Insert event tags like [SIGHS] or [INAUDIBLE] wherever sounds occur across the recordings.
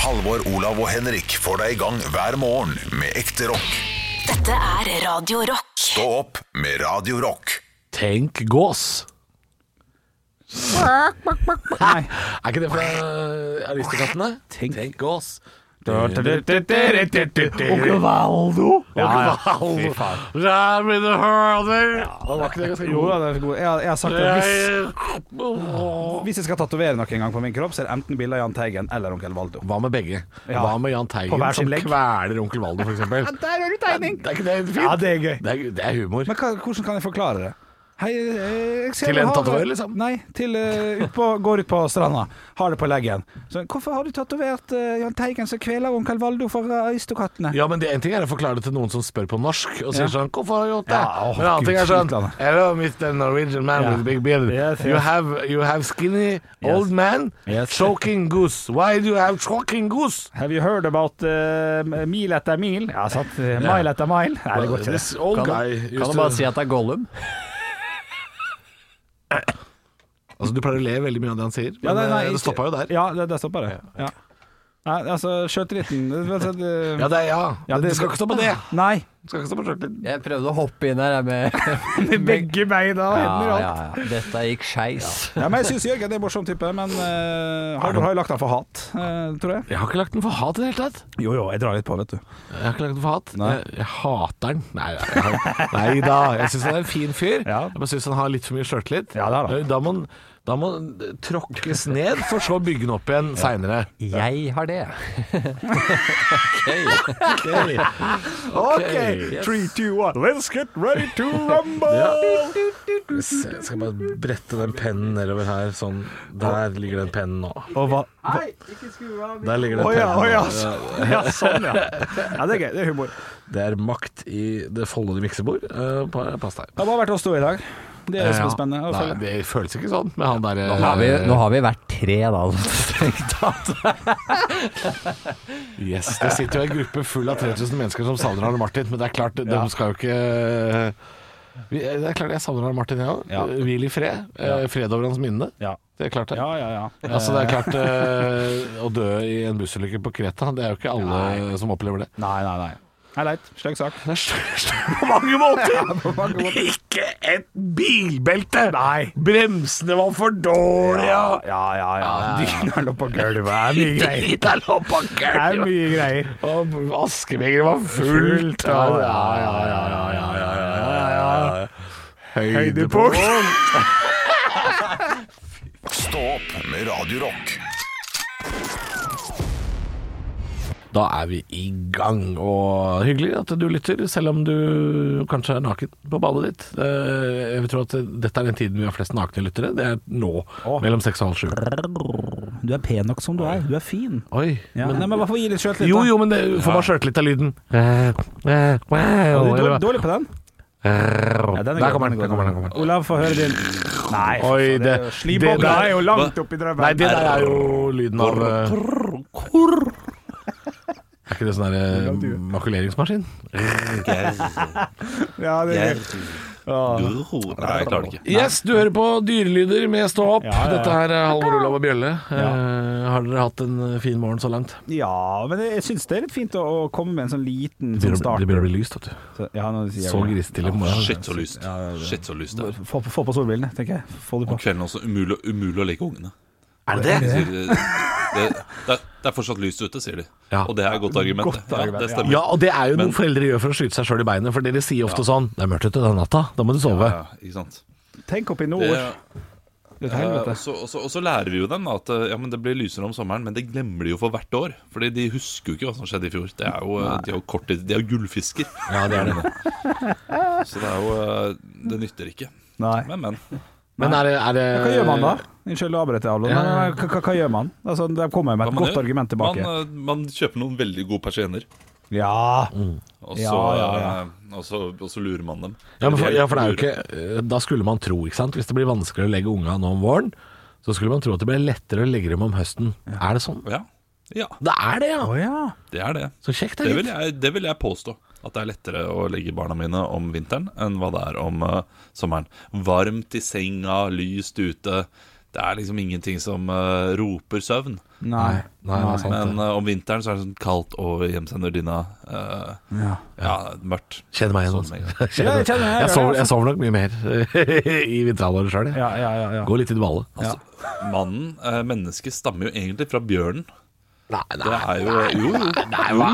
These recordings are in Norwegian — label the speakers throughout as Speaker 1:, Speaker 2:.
Speaker 1: Halvor, Olav og Henrik får deg i gang hver morgen med ekte rock.
Speaker 2: Dette er Radio Rock.
Speaker 1: Stå opp med Radio Rock.
Speaker 3: Tenk gås.
Speaker 4: Nei.
Speaker 3: [LAUGHS] Er ikke det fra Aristokattene? Tenk, gås.
Speaker 4: Onkel Valdo! Ja, ja. Fy
Speaker 3: Wow.
Speaker 4: faen.
Speaker 3: That with the hurler. Det var ikke det ganske
Speaker 4: Jo
Speaker 3: god.
Speaker 4: da, den er så god. Jeg, jeg har sagt det. Hvis, hvis jeg skal tatovere noe en gang på min kropp, så er det enten bilde av Jahn Teigen eller onkel Valdo.
Speaker 3: Hva med begge?
Speaker 4: Ja.
Speaker 3: Hva med Jahn
Speaker 4: På
Speaker 3: Teigen
Speaker 4: hver sin
Speaker 3: som
Speaker 4: legg.
Speaker 3: kveler onkel Valdo, for eksempel?
Speaker 4: Der har du tegning!
Speaker 3: Det er ikke det fint?
Speaker 4: Ja, det er gøy.
Speaker 3: Det er, det er humor.
Speaker 4: Men hva, hvordan kan jeg forklare det? Hei, eh, jeg ser
Speaker 3: Til
Speaker 4: du
Speaker 3: en
Speaker 4: har det-
Speaker 3: tatoverer, liksom?
Speaker 4: Nei, til, eh, ut på, går ut på stranda. Har det på leggen. Så, hvorfor har du tatovert eh, Jahn Teigen som kveler onkel Valdo for eh, Aristokattene?
Speaker 3: Ja, men det, En ting er å forklare det til noen som spør på norsk, og sier
Speaker 4: Ja.
Speaker 3: sånn 'Hvorfor har du gjort det?'
Speaker 4: Ja, åh,
Speaker 3: men en annen
Speaker 4: Gud,
Speaker 3: ting er sånn
Speaker 4: utlandet.
Speaker 3: 'Hello, Mr. Norwegian man
Speaker 4: Ja.
Speaker 3: with big beard.
Speaker 4: Yes,
Speaker 3: You,
Speaker 4: yes.
Speaker 3: have, you have skinny old man
Speaker 4: Yes.
Speaker 3: choking goose. Why do you have choking goose?'
Speaker 4: Have you heard about eh, mil etter mil? Ja, sant. Eh, Mile etter mile. Nei, det går ikke. det.
Speaker 3: This old guy used
Speaker 5: Kan du
Speaker 3: to-
Speaker 5: bare si at det er Gollum?
Speaker 3: Altså, Du pleier å le veldig mye av det han sier, men
Speaker 4: Ja, nei, nei,
Speaker 3: eh, det
Speaker 4: ikke-
Speaker 3: stoppa jo der.
Speaker 4: Ja, det, det stoppa det. Ja. Nei, altså, sjøtilliten det, det,
Speaker 3: Ja, det, er, [LAUGHS] ja.
Speaker 4: Ja,
Speaker 3: det, skal ikke stå på det.
Speaker 4: [LAUGHS] Nei.
Speaker 3: Det skal ikke stå på sjøltilliten.
Speaker 5: Jeg prøvde å hoppe inn her jeg, med
Speaker 4: Med begge beina og
Speaker 5: ja,
Speaker 4: hender og
Speaker 5: ja,
Speaker 4: alt.
Speaker 5: ja. Dette gikk skeis.
Speaker 4: Ja, men jeg syns Jørgen er en morsom type, men uh, Halvor har jo lagt han for hat, eh, tror jeg.
Speaker 3: Jeg har ikke lagt den for hat i det hele tatt.
Speaker 4: Jo jo, jeg drar litt på, vet du.
Speaker 3: Jeg har ikke lagt den for hat.
Speaker 4: Nei.
Speaker 3: Jeg, jeg hater den. Nei, jeg, jeg, nei da. Jeg syns han er en fin fyr.
Speaker 4: Ja.
Speaker 3: Jeg bare syns han har litt for mye sjøltillit.
Speaker 4: Ja, det har han.
Speaker 3: da må han da må han tråkkes ned, for så å bygge den opp igjen seinere.
Speaker 5: Jeg har det.
Speaker 3: Ok,
Speaker 4: three, two, one, let's get ready to rumble!
Speaker 3: Jeg skal bare brette den pennen nedover her. Sånn. Der ligger den pennen nå.
Speaker 4: [LAUGHS] Og hva Å
Speaker 3: Der ligger den
Speaker 4: ja,
Speaker 3: pennen
Speaker 4: å ja,
Speaker 3: nå.
Speaker 4: så- ja, sånn, ja. ja. Det er gøy. Det er humor. Det
Speaker 3: Det er makt i det foldede miksebord. Eh, pa- Pass deg.
Speaker 4: har bare vært oss to i dag. Det er det som
Speaker 3: Ja.
Speaker 4: er spennende. å
Speaker 3: Nei,
Speaker 4: følge.
Speaker 3: det føles ikke sånn med han der eh,
Speaker 5: Nå har vi, nå har vi vært tre, da. [LAUGHS] strengt tatt.
Speaker 3: Yes, Det sitter jo en gruppe full av 3000 mennesker som savner Arne Martin, men det er klart, de skal jo ikke eh, Vi- eh, Det er klart jeg savner Arne Martin, jeg òg.
Speaker 4: Ja.
Speaker 3: Hvil i fred. Eh, Fred over hans minne.
Speaker 4: Ja.
Speaker 3: Det er klart, det.
Speaker 4: ja, ja, ja.
Speaker 3: Altså, det er klart eh, Å dø i en bussulykke på Kreta, det er jo ikke alle som opplever det.
Speaker 4: Nei, nei, nei. Nei, leit. Stygg sak.
Speaker 3: Det er størst på mange
Speaker 4: [LAUGHS]
Speaker 3: måter!
Speaker 4: På mange måter.
Speaker 3: Ikke et bilbelte!
Speaker 4: Nei.
Speaker 3: Bremsene var for dårlige!
Speaker 4: Ja, ja, ja. Dyna lå på gulvet. Det er mye
Speaker 3: [LAUGHS]
Speaker 4: greier.
Speaker 3: Drita lå på
Speaker 4: Det
Speaker 3: gulvet!
Speaker 4: er mye greier.
Speaker 3: Og askebegeret var fullt. Ja, ja, ja, ja, ja, ja, ja, ja, ja.
Speaker 4: Høydepunkt.
Speaker 1: Stå opp med Radio Rock.
Speaker 3: Da er vi i gang, og hyggelig at du lytter, selv om du kanskje er naken på badet ditt. Eh, Jeg vil tro at dette er den tiden vi har flest nakne lyttere. Det er nå, mellom seks og halv sju.
Speaker 4: Du er pen nok som du er. Du er fin.
Speaker 3: Oi.
Speaker 4: Ja, men, nei, men hvorfor gi litt sjøltillit?
Speaker 3: Jo, jo, men det får bare sjøltillit av lyden.
Speaker 4: Du er dårlig,
Speaker 3: Der
Speaker 4: dårlig på den.
Speaker 3: kommer den, Eh, der kommer den. der kommer den.
Speaker 4: Olav, få høre din. Nei, for
Speaker 3: Oi,
Speaker 4: faen, det,
Speaker 3: det- det
Speaker 4: Slimbob
Speaker 3: der-
Speaker 4: er jo langt oppi drømmen.
Speaker 3: Nei, det der er jo lyden av eh, Er ikke det sånn der eh, makuleringsmaskin?
Speaker 4: Ja, det er Åh.
Speaker 6: Nei, jeg klarer det ikke.
Speaker 3: Yes, du hører på Dyrelyder med Stå opp.
Speaker 4: ja, ja.
Speaker 3: Dette er eh, Halvor Olav og Bjølle. Eh, har dere hatt en eh, fin morgen så langt?
Speaker 4: ja, men jeg syns det er litt fint å, å komme med en sånn liten
Speaker 3: Det
Speaker 4: sånn
Speaker 3: begynner,
Speaker 4: start.
Speaker 3: det begynner å bli lyst, vet du.
Speaker 4: Så- Ja, nå sier jeg
Speaker 3: Så
Speaker 4: det.
Speaker 3: grisestille på morgenen.
Speaker 6: Shit, så lyst. Shit, så lyst det er.
Speaker 4: Få, få på solbrillene, tenker jeg. Få de
Speaker 6: Om
Speaker 4: på.
Speaker 6: kvelden også. Umulig, umulig å leke ungene.
Speaker 3: Er det det?
Speaker 6: Sier de- Det, det, er, det er fortsatt lyst ute, sier de.
Speaker 3: Ja.
Speaker 6: Og det er et godt argument.
Speaker 4: Godt
Speaker 6: det.
Speaker 4: argument,
Speaker 6: ja, det
Speaker 4: ja.
Speaker 6: stemmer.
Speaker 3: Ja, og det er jo noe foreldre gjør for å skyte seg sjøl i beinet. For dere sier ofte sånn 'Det er mørkt ute den natta, da må du sove'.
Speaker 6: Ja, ikke sant?
Speaker 4: Tenk opp i nord.
Speaker 6: Det,
Speaker 4: Det er
Speaker 6: eh,
Speaker 4: helvete.
Speaker 6: og, så, og, så, og så lærer vi jo dem da, at eh, ja, men det blir lysere om sommeren, men det glemmer de jo for hvert år. Fordi de husker jo ikke hva som skjedde i fjor. Det er jo, eh, de er jo korttid, de er jo gullfisker.
Speaker 3: Ja, det er det.
Speaker 6: Så det er jo eh, Det nytter ikke.
Speaker 4: Nei.
Speaker 6: Men, men.
Speaker 3: Men er det, er det
Speaker 4: Hva gjør man da? Unnskyld å avbryte, Alon.
Speaker 3: Ja.
Speaker 4: men eh, Hva, hva, hva gjør man? Altså, det kommer jeg med
Speaker 6: Hva
Speaker 4: et
Speaker 6: man
Speaker 4: godt
Speaker 6: gjør?
Speaker 4: argument tilbake.
Speaker 6: Man, eh, man kjøper noen veldig gode persienner.
Speaker 4: Ja.
Speaker 3: Mm.
Speaker 6: Og så,
Speaker 4: Ja, ja, ja.
Speaker 6: eh, Og, så, og så lurer man dem.
Speaker 3: Ja, men for,
Speaker 6: Eller de
Speaker 3: ja, for det er jo
Speaker 6: lurer.
Speaker 3: ikke eh, Da skulle man tro, ikke sant Hvis det blir vanskelig å legge unga nå om våren Så skulle man tro at det ble lettere å legge dem om høsten Er det sånn?
Speaker 6: Ja. ja,
Speaker 3: Det er det, ja!
Speaker 4: Å ja.
Speaker 6: det er det.
Speaker 3: Så kjekt det
Speaker 6: Det
Speaker 3: er
Speaker 6: vil,
Speaker 3: gitt.
Speaker 6: jeg, det vil jeg påstå. At det er lettere å legge barna mine om vinteren enn hva det er om eh, sommeren. Varmt i senga, lyst ute. Det er liksom ingenting som eh, roper søvn.
Speaker 4: Nei.
Speaker 3: Nei, det er sant.
Speaker 6: Men eh, om vinteren så er det sånn kaldt og hjemsender dyna. eh,
Speaker 4: Ja.
Speaker 6: ja, mørkt.
Speaker 3: Kjenner meg igjen. [LAUGHS] altså.
Speaker 6: Sånn med en gang.
Speaker 4: Ja, jeg kjenner meg igjen,
Speaker 3: Jeg
Speaker 4: ja.
Speaker 3: sover, jeg sover nok mye mer [LAUGHS] i vinterhalvåret sjøl.
Speaker 4: Ja, ja, ja, ja.
Speaker 3: Går litt i dvale.
Speaker 6: Altså, Mannen, eh, mennesket, stammer jo egentlig fra bjørnen.
Speaker 3: Nei,
Speaker 6: Det
Speaker 3: nei,
Speaker 6: er jo Jo, jo.
Speaker 3: nei, hva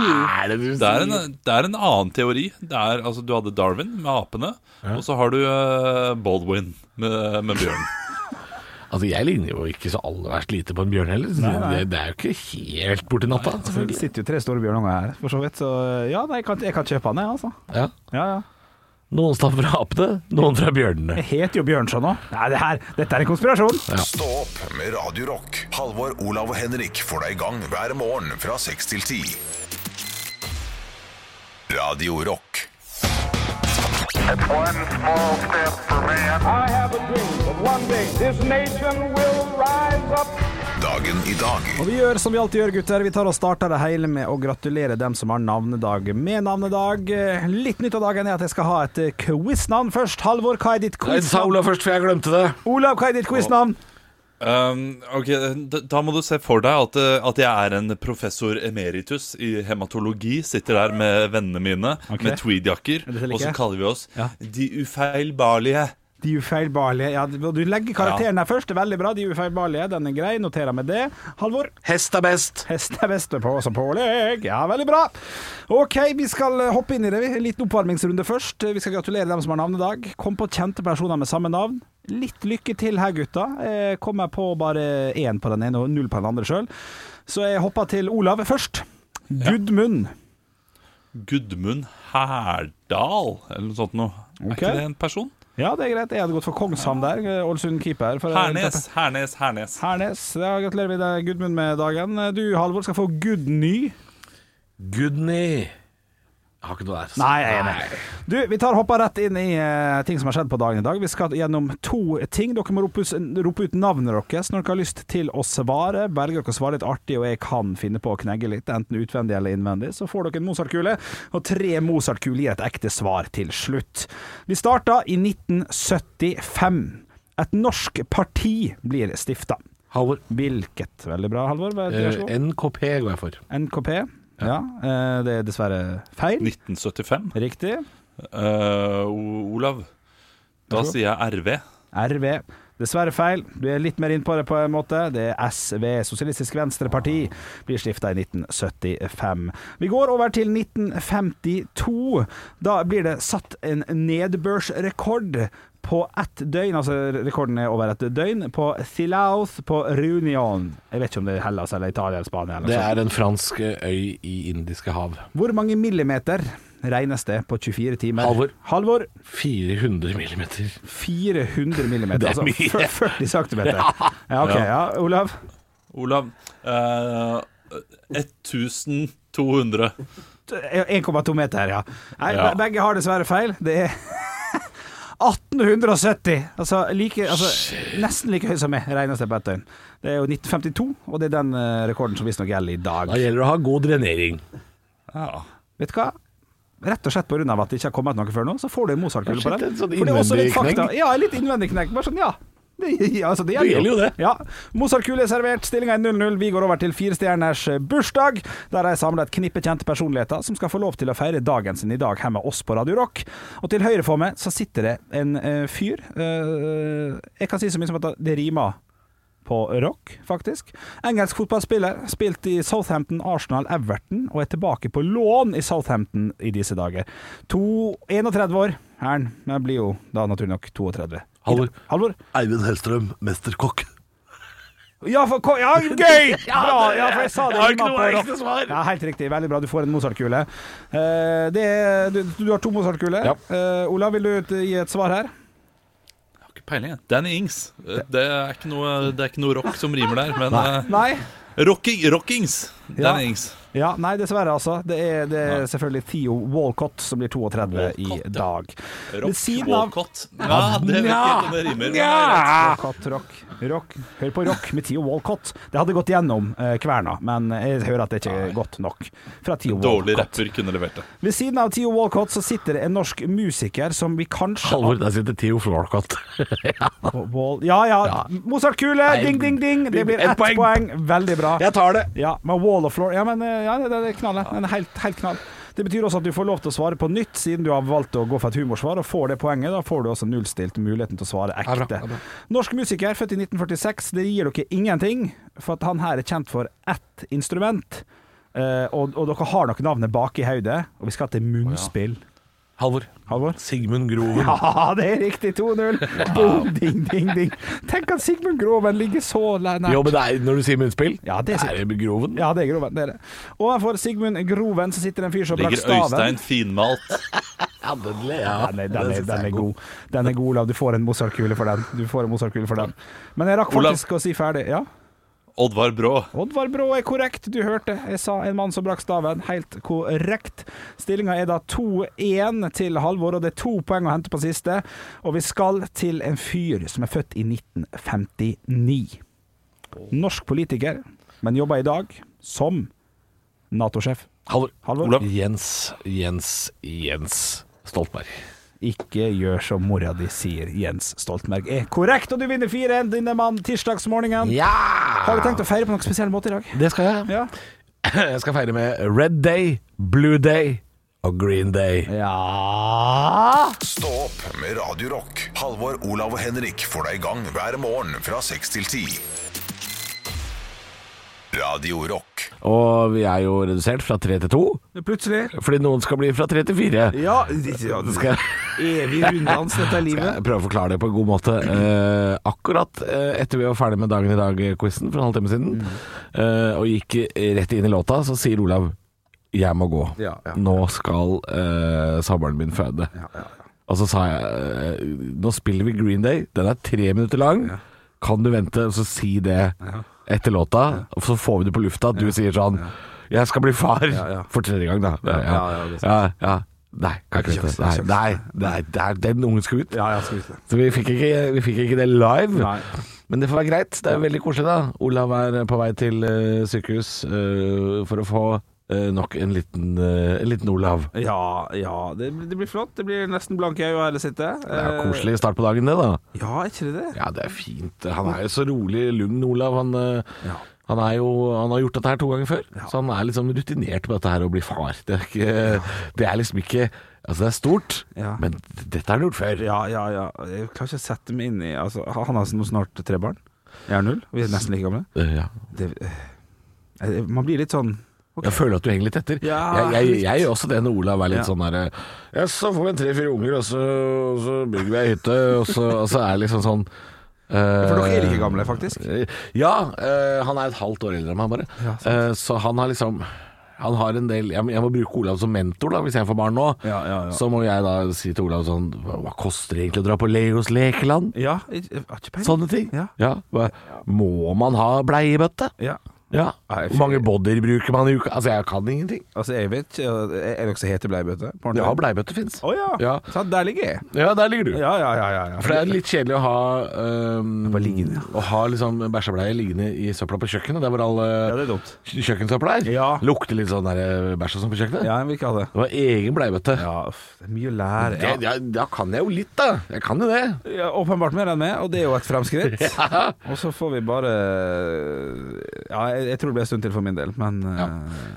Speaker 3: er det du
Speaker 6: Det er,
Speaker 3: sier?
Speaker 6: en, det er en annen teori. Det er, altså, du hadde Darwin med apene, og så har du eh, Baldwin med, med bjørnen.
Speaker 3: Altså, jeg ligner jo ikke så aller verst lite på en bjørn heller. så Det, det er jo ikke helt borti natta,
Speaker 4: Så Det
Speaker 3: selvfølgelig.
Speaker 4: sitter jo tre store bjørnunger her, for så vidt. Så eh, ja, nei, jeg kan, jeg kan kjøpe han, jeg, altså.
Speaker 3: Ja.
Speaker 4: Ja, ja.
Speaker 3: Noen stammer fra apene, noen fra bjørnene.
Speaker 4: Jeg heter jo Bjørnson òg. Nei, det her, dette er en konspirasjon.
Speaker 1: Stå opp med Radio Rock. Halvor, Olav og Henrik får deg i gang hver morgen fra 6 til 10. Radio Rock.
Speaker 7: One small step for man. I have a dream that one day this nation will rise up.
Speaker 1: Dagen i dag.
Speaker 4: Og vi gjør som vi alltid gjør, gutter. Vi tar og starter det hele med å gratulere dem som har navnedag med navnedag. Eh, Litt nytt av dagen er at jeg skal ha et eh, quiznavn først. Halvor, hva er ditt
Speaker 3: Jeg sa
Speaker 4: quiznavn?
Speaker 3: Olav først, for jeg glemte det.
Speaker 4: Olav, hva er ditt quiznavn?
Speaker 6: [LAUGHS] Um, ok, da, da må du se for deg at, eh, at jeg er en professor emeritus i hematologi. Sitter der med vennene mine
Speaker 4: Ok.
Speaker 6: med tweedjakker,
Speaker 4: Dette liker
Speaker 6: og så
Speaker 4: jeg.
Speaker 6: kaller vi oss
Speaker 4: Ja.
Speaker 6: De ufeilbarlige.
Speaker 4: De ufeilbarlige. Ja, du du legger karakteren her først. Det er veldig bra. De ufeilbarlige, den er grei. Noterer med det. Halvor?
Speaker 3: Hest er best.
Speaker 4: Hest er best på som pålegg. Ja, veldig bra. OK, vi skal eh, hoppe inn i det. vi. En liten oppvarmingsrunde først. Eh, Vi skal gratulere dem som har navnedag. Kom på kjente personer med samme navn. Litt lykke til her, gutta. Jeg kommer på bare én på den ene og null på den andre sjøl. Så jeg hopper til Olav først. Gudmund.
Speaker 6: Gudmund Herdal, eller noe sånt noe.
Speaker 4: Ok.
Speaker 6: Er ikke det en person?
Speaker 4: Ja, det er greit. Jeg hadde gått for Kongshamn der. eh, Ålesund keeper. For
Speaker 6: Hernes, Hernes, Hernes.
Speaker 4: Hernes. Ja, gratulerer vi deg, Gudmund, med dagen. Du, Halvor, skal få Gudny.
Speaker 3: Gudny. Jeg har ikke noe der. altså.
Speaker 4: Nei, jeg er enig. Du, vi tar hoppa rett inn i eh, ting som har skjedd på dagen i dag. Vi skal gjennom to ting. Dere må rope, ut- rope ut navnet deres når dere har lyst til å svare. Velger dere å svare litt artig, og jeg kan finne på å knegge litt, enten utvendig eller innvendig, så får dere en Mozart-kule. Og tre Mozart-kuler gir et ekte svar til slutt. Vi starta i 1975. Et norsk parti blir stifta.
Speaker 3: Halvor.
Speaker 4: Hvilket? Veldig bra, Halvor. Vær så
Speaker 3: Eh,
Speaker 4: god.
Speaker 3: NKP går jeg for.
Speaker 4: NKP. Ja, eh, det er dessverre feil.
Speaker 6: 1975.
Speaker 4: Riktig.
Speaker 6: Eh, O- Olav, da sier jeg RV.
Speaker 4: RV. Dessverre feil. Du er litt mer inn på det på en måte. Det er SV, Sosialistisk Venstreparti, blir stifta i 1975. Vi går over til 1952. Da blir det satt en nedbørsrekord på ett døgn, altså rekorden er over et døgn, på Thilaus på Reunion. Jeg vet ikke om det er Hellas eller Italia eller Spania. Eller
Speaker 3: Det
Speaker 4: noe sånt.
Speaker 3: er en fransk eh, øy i Indiske hav.
Speaker 4: Hvor mange millimeter regnes det på 24 timer?
Speaker 3: Halvor.
Speaker 4: Halvor
Speaker 3: 400 millimeter.
Speaker 4: 400 millimeter.
Speaker 3: Det er mye.
Speaker 4: Altså fyr- 40 centimeter. Ja, ok. Ja, Olav?
Speaker 6: Olav, eh, 1200.
Speaker 4: 1,2 meter, ja. Nei,
Speaker 6: Ja.
Speaker 4: be- Begge har dessverre feil. Det er [LAUGHS] 1870! Altså, like, altså nesten like høy som meg, regnes det på ett døgn. Det er jo 1952, og det er den eh, rekorden som visstnok gjelder i dag.
Speaker 3: Da gjelder det å ha god drenering.
Speaker 6: Ja.
Speaker 4: Vet du hva? Rett og slett pga. at det ikke har kommet noe før nå, så får du en Mozart-kule
Speaker 3: Ja,
Speaker 4: på
Speaker 3: shit,
Speaker 4: den.
Speaker 3: en sånn
Speaker 4: For det er også litt
Speaker 3: innvendig
Speaker 4: fakta.
Speaker 3: knegg.
Speaker 4: Ja, en litt innvendig knekk. Bare sånn, ja. Det, ja, altså, det
Speaker 3: Det gjelder jo det.
Speaker 4: Ja. Mozart-kule er servert, stillinga er 0-0. Vi går over til firestjerners eh, bursdag, der jeg samla et knippe kjente personligheter som skal få lov til å feire dagen sin i dag her med oss på Radio Rock. Og til høyre for meg så sitter det en eh, fyr. Eh, jeg kan si så mye som at det rimer på rock, faktisk. Engelsk fotballspiller, spilt i Southampton, Arsenal, Everton, og er tilbake på lån i Southampton i disse dager. To, 31 år er han, men han blir jo da naturlig nok 32.
Speaker 3: Halvor.
Speaker 4: Halvor?
Speaker 3: Eivind Hellstrøm, mesterkokk.
Speaker 4: Ja, for, ko-
Speaker 3: [LAUGHS]
Speaker 4: ja gøy! Bra, ja, for jeg sa det.
Speaker 3: Jeg har ikke
Speaker 4: rimet
Speaker 3: noe
Speaker 4: på rock.
Speaker 3: ekte svar.
Speaker 4: Ja, helt riktig. Veldig bra. Du får en Mozart-kule. Eh, det er- du, du har to Mozart-kuler.
Speaker 3: Ja.
Speaker 4: Eh, Olav, vil du gi et svar her?
Speaker 6: Jeg har ikke peiling, jeg. Danny Ings. Eh, Det er ikke noe, det er ikke noe rock som rimer der, men eh,
Speaker 4: Nei?
Speaker 6: Rocking, rockings.
Speaker 4: Ja.
Speaker 6: Danny Ings.
Speaker 4: Ja, nei, dessverre, altså. Det er, det er selvfølgelig Theo Walcott som blir 32
Speaker 6: Walcott,
Speaker 4: i
Speaker 6: ja.
Speaker 4: dag. Ved
Speaker 6: Rock
Speaker 4: siden av-
Speaker 6: Walcott. Ja, det vet jeg ikke om det rimer. men
Speaker 4: Walcott, rock, rock. Hør på rock med Theo Walcott. Det hadde gått gjennom eh, kverna, men jeg hører at det ikke er godt nok fra Theo
Speaker 6: Dårlig
Speaker 4: Walcott.
Speaker 6: rapper kunne levert det.
Speaker 4: Ved siden av Theo Walcott så sitter det en norsk musiker som vi kanskje
Speaker 3: Halvor, der sitter Theo Florcott.
Speaker 4: Wall- Ja ja, Mozart-kule!
Speaker 3: Nei,
Speaker 4: Ding, ding, ding! Det blir
Speaker 3: ett
Speaker 4: ett
Speaker 3: poeng.
Speaker 4: poeng. Veldig bra.
Speaker 3: tar det.
Speaker 4: Ja, men wall of floor Ja, men eh, ja, det det er knallet. Den er helt, helt knall. Det betyr også at du får lov til å svare på nytt, siden du har valgt å gå for et humorsvar. Og får det poenget, da får du også nullstilt muligheten til å svare ekte.
Speaker 3: Ja, bra, ja, bra.
Speaker 4: Norsk musiker, født i 1946. Det gir dere ingenting, for at han her er kjent for ett instrument. Eh, og, og dere har nok navnet bak i hodet, og vi skal til munnspill.
Speaker 3: Halvor.
Speaker 4: Halvor? [LAUGHS]
Speaker 3: Sigmund Groven.
Speaker 4: Ja, det er riktig! 2-0. Boom, ding, ding, ding. Tenk at Sigmund Groven ligger så nært.
Speaker 3: Jo, men det er, når du sier munnspill,
Speaker 4: Ja, det er sikkert.
Speaker 3: det Groven.
Speaker 4: Ja, det er Groven. det er det. Overfor Sigmund Groven så sitter det en fyr som brakk
Speaker 6: Ligger
Speaker 4: staven.
Speaker 6: Øystein finmalt.
Speaker 3: Ja, den le- ja.
Speaker 4: Den er, den,
Speaker 3: Den synes
Speaker 4: er,
Speaker 3: jeg
Speaker 4: den
Speaker 3: er
Speaker 4: er god. Den er god, Olav. Du får en Mozart-kule for den. Du får en Mozart-kule for den. Men jeg rakk
Speaker 6: Olav.
Speaker 4: faktisk å si ferdig. Ja,
Speaker 6: Oddvar Brå.
Speaker 4: Oddvar Brå er korrekt. Du hørte jeg sa en mann som brakk staven. Helt korrekt. Stillinga er da 2-1 til Halvor, og det er to poeng å hente på siste. Og vi skal til en fyr som er født i 1959. Norsk politiker, men jobber i dag som Nato-sjef.
Speaker 3: Halvor.
Speaker 4: Halvor?
Speaker 3: Olav. Jens, Jens, Jens Stoltenberg.
Speaker 4: Ikke gjør som mora di sier, Jens Stoltenberg er korrekt, og du vinner 4-1, denne mann, tirsdagsmorgenen. Har du tenkt å feire på noen spesiell måte i dag?
Speaker 3: Det skal jeg.
Speaker 4: Ja.
Speaker 3: Jeg skal feire med Red Day, Blue Day og Green Day.
Speaker 4: ja.
Speaker 1: Stå opp med Radio Rock. Halvor, Olav og Henrik får deg i gang hver morgen fra 6 til 10. Radio Rock.
Speaker 3: Og vi er jo redusert fra tre til to,
Speaker 4: Plutselig.
Speaker 3: fordi noen skal bli fra tre til fire.
Speaker 4: Ja, ja det
Speaker 3: Skal jeg-
Speaker 4: [LAUGHS] evig runddans, dette er
Speaker 3: skal jeg
Speaker 4: livet.
Speaker 3: prøve å forklare det på en god måte. Eh, akkurat eh, etter vi var ferdig med Dagen i dag-quizen for en halvtime siden,
Speaker 4: Mm.
Speaker 3: eh, og gikk rett inn i låta, så sier Olav 'jeg må gå'.
Speaker 4: Ja, ja.
Speaker 3: Nå skal eh, samboeren min føde. Og så sa jeg eh, 'nå spiller vi Green Day, den er tre minutter lang'. Kan du vente og så si det etter låta, og så får vi det på lufta at du sier sånn 'Jeg skal bli far' for tredje gang, da. Ja,
Speaker 4: ja, det
Speaker 3: ja, ja. Nei, kan ikke vente. Nei, nei, nei, nei, den ungen skal ut.
Speaker 4: Ja, jeg skal vite det.
Speaker 3: Så vi fikk ikke, vi fikk ikke det live.
Speaker 4: Nei.
Speaker 3: Men det får være greit. Det er jo veldig koselig, da. Olav er på vei til eh, sykehus eh, for å få eh, nok en liten, eh, en liten Olav.
Speaker 4: Ja, ja. Det, det blir flott. Det blir nesten blanke øyne her jeg sitter.
Speaker 3: Det er jo koselig start på dagen, det, da.
Speaker 4: Eh, Ja, er ikke det det?
Speaker 3: Ja, det er fint. Han er jo så rolig lugn, Olav. Han, eh,
Speaker 4: Ja.
Speaker 3: han, er jo, han har gjort dette her to ganger før, så han er liksom rutinert på dette her å bli far. Det er, ikke, det er liksom ikke Altså, det er stort,
Speaker 4: Ja.
Speaker 3: men dette har han gjort før.
Speaker 4: Ja, ja, ja. Jeg klarer ikke å sette meg inn i altså, Han har nå snart tre barn. Jeg er null. Vi er nesten like gamle.
Speaker 3: Eh, ja.
Speaker 4: Det, eh, man blir litt sånn
Speaker 3: Jeg føler at du henger litt etter.
Speaker 4: Ja,
Speaker 3: jeg, jeg,
Speaker 4: litt.
Speaker 3: jeg gjør også det når Olav er litt
Speaker 4: Ja.
Speaker 3: sånn derre Ja, så får vi en tre-fire unger, og så, og så bygger vi ei hytte, og så, og så er det liksom sånn eh,
Speaker 4: For dere er like gamle, faktisk.
Speaker 3: Ja, eh, han er et halvt år eldre enn meg, bare. Eh, så han har liksom han har en del Jeg må, jeg må bruke Olav som mentor, da, hvis jeg får barn nå.
Speaker 4: Ja, ja, ja.
Speaker 3: Så må jeg da si til Olav sånn Hva, hva koster det egentlig å dra på Legos lekeland?
Speaker 4: Ja, jeg, jeg har ikke peiling.
Speaker 3: Sånne ting.
Speaker 4: Ja.
Speaker 3: hva, må man ha bleiebøtte?
Speaker 4: Ja.
Speaker 3: Ja.
Speaker 4: Nei,
Speaker 3: Hvor mange bodyer bruker man i uka? Altså, jeg kan ingenting.
Speaker 4: Altså, jeg vet ikke Er det noe som heter bleiebøte? På ordentlig?
Speaker 3: Ja, bleiebøtte fins.
Speaker 4: Å ja.
Speaker 3: Ja.
Speaker 4: Så der ligger jeg.
Speaker 3: Ja, der ligger du.
Speaker 4: Ja, ja, ja. ja, ja.
Speaker 3: For det er litt kjedelig å ha ehm, øhm,
Speaker 4: Bare liggende, ja.
Speaker 3: Å ha liksom bæsjebleie liggende i søpla på kjøkkenet. Der hvor all
Speaker 4: Ja,
Speaker 3: øh,
Speaker 4: det er dumt.
Speaker 3: kjøkkensøpla er.
Speaker 4: Ja.
Speaker 3: Lukter litt sånn der, øh, bæsj og sånn på kjøkkenet.
Speaker 4: Ja, jeg vil ikke ha det.
Speaker 3: Det var egen bleiebøtte.
Speaker 4: Ja, uff, det er mye å lære.
Speaker 3: Det-
Speaker 4: Ja.
Speaker 3: ja, da kan jeg jo litt, da. Jeg kan jo det.
Speaker 4: Ja, åpenbart mer enn meg, og det er jo
Speaker 3: [LAUGHS]
Speaker 4: et fremskritt. Og så får vi bare eh, Ja, jeg, jeg tror det blir en stund til for min del, men eh,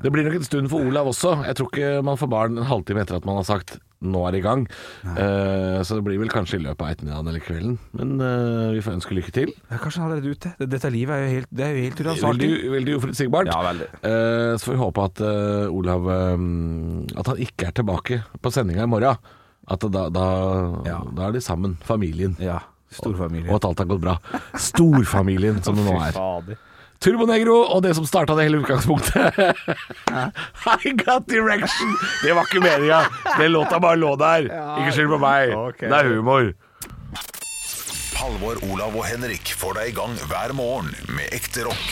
Speaker 3: Det blir nok en stund for Olav også. Jeg tror ikke man får barn en halvtime etter at man har sagt 'nå er det i gang'. Eh, så det blir vel kanskje i løpet av ettermiddagen eller kvelden. Men eh, vi får ønske lykke til.
Speaker 4: ja, Kanskje han er allerede ute. Det- Dette livet er jo helt, det er jo helt uransakelig.
Speaker 3: Veldig, veldig uforutsigbart.
Speaker 4: Ja, veldig.
Speaker 3: Eh, så får vi håpe at eh, Olav eh, At han ikke er tilbake på sendinga i morgen. At da, da,
Speaker 4: Ja.
Speaker 3: da er de sammen, familien.
Speaker 4: Ja.
Speaker 3: Og
Speaker 4: Storfamilie.
Speaker 3: at alt har gått bra. Storfamilien som det nå er.
Speaker 4: fader.
Speaker 3: Turbonegro og det som starta det hele utgangspunktet. [LAUGHS] I got direction! Det var ikke meninga. Den låta bare lå der. Ikke skyld på meg. Det er humor.
Speaker 1: Halvor, Olav og Henrik får deg i gang hver morgen med ekte rock.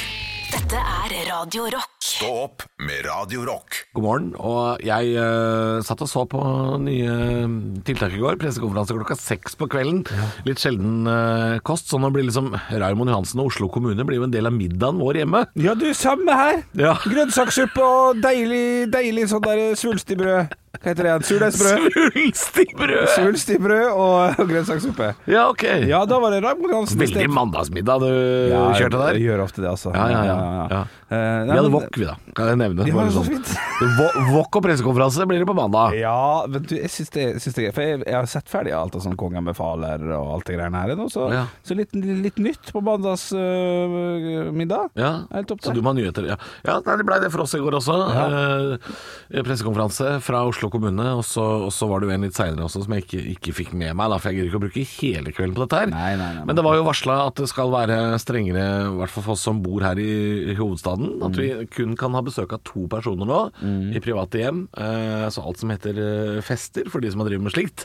Speaker 2: Dette er Radio Rock.
Speaker 1: Stå opp med Radio Rock.
Speaker 3: God morgen. Og jeg eh, satt og så på nye mm, tiltak i går. Pressekonferanse klokka seks på kvelden. Litt sjelden eh, kost. Sånn å bli liksom Raymond Johansen og Oslo kommune blir jo en del av middagen vår hjemme.
Speaker 4: Ja, du, samme her.
Speaker 3: Ja.
Speaker 4: Grønnsakssuppe og deilig, deilig sånn der svulstigbrød. Hva heter det igjen? Surdeigsbrød.
Speaker 3: Svulstigbrød!
Speaker 4: Svulstigbrød og og grønnsakssuppe.
Speaker 3: Ja, ok.
Speaker 4: Ja, da var det Raymond Johansen.
Speaker 3: Veldig mandagsmiddag du kjørte
Speaker 4: Jeg
Speaker 3: der.
Speaker 4: gjør ofte det, altså.
Speaker 3: Ja, ja, ja. ja.
Speaker 4: Eh,
Speaker 3: Vi
Speaker 4: nei,
Speaker 3: hadde
Speaker 4: men-
Speaker 3: wok, vi da. Kan jeg nevne.
Speaker 4: Vi har
Speaker 3: Bare
Speaker 4: det så
Speaker 3: sånn.
Speaker 4: fint.
Speaker 3: Wo- Wok og pressekonferanse blir det på mandag.
Speaker 4: Ja, men du, jeg syns det, syns det er greit. For jeg, jeg har sett ferdig alt av sånn Kongen befaler og alt det greiene her nå, så,
Speaker 3: Ja.
Speaker 4: så litt, litt nytt på mandags øh, middag.
Speaker 3: Ja,
Speaker 4: Helt topp,
Speaker 3: så du
Speaker 4: det.
Speaker 3: må ha nyheter. Ja, ja nei, det blei det for oss i går også. Eh, pressekonferanse fra Oslo kommune, og så, og så var det jo en litt seinere også som jeg ikke, ikke fikk med meg. Da, for jeg gidder ikke å bruke hele kvelden på dette her.
Speaker 4: Nei, nei, nei, nei.
Speaker 3: Men det var jo varsla at det skal være strengere, i hvert fall for oss som bor her i, i hovedstaden, at vi
Speaker 4: Mm.
Speaker 3: kun kan ha besøk av to personer nå i private hjem. Eh, så alt som heter eh, fester, for de som har drevet med slikt,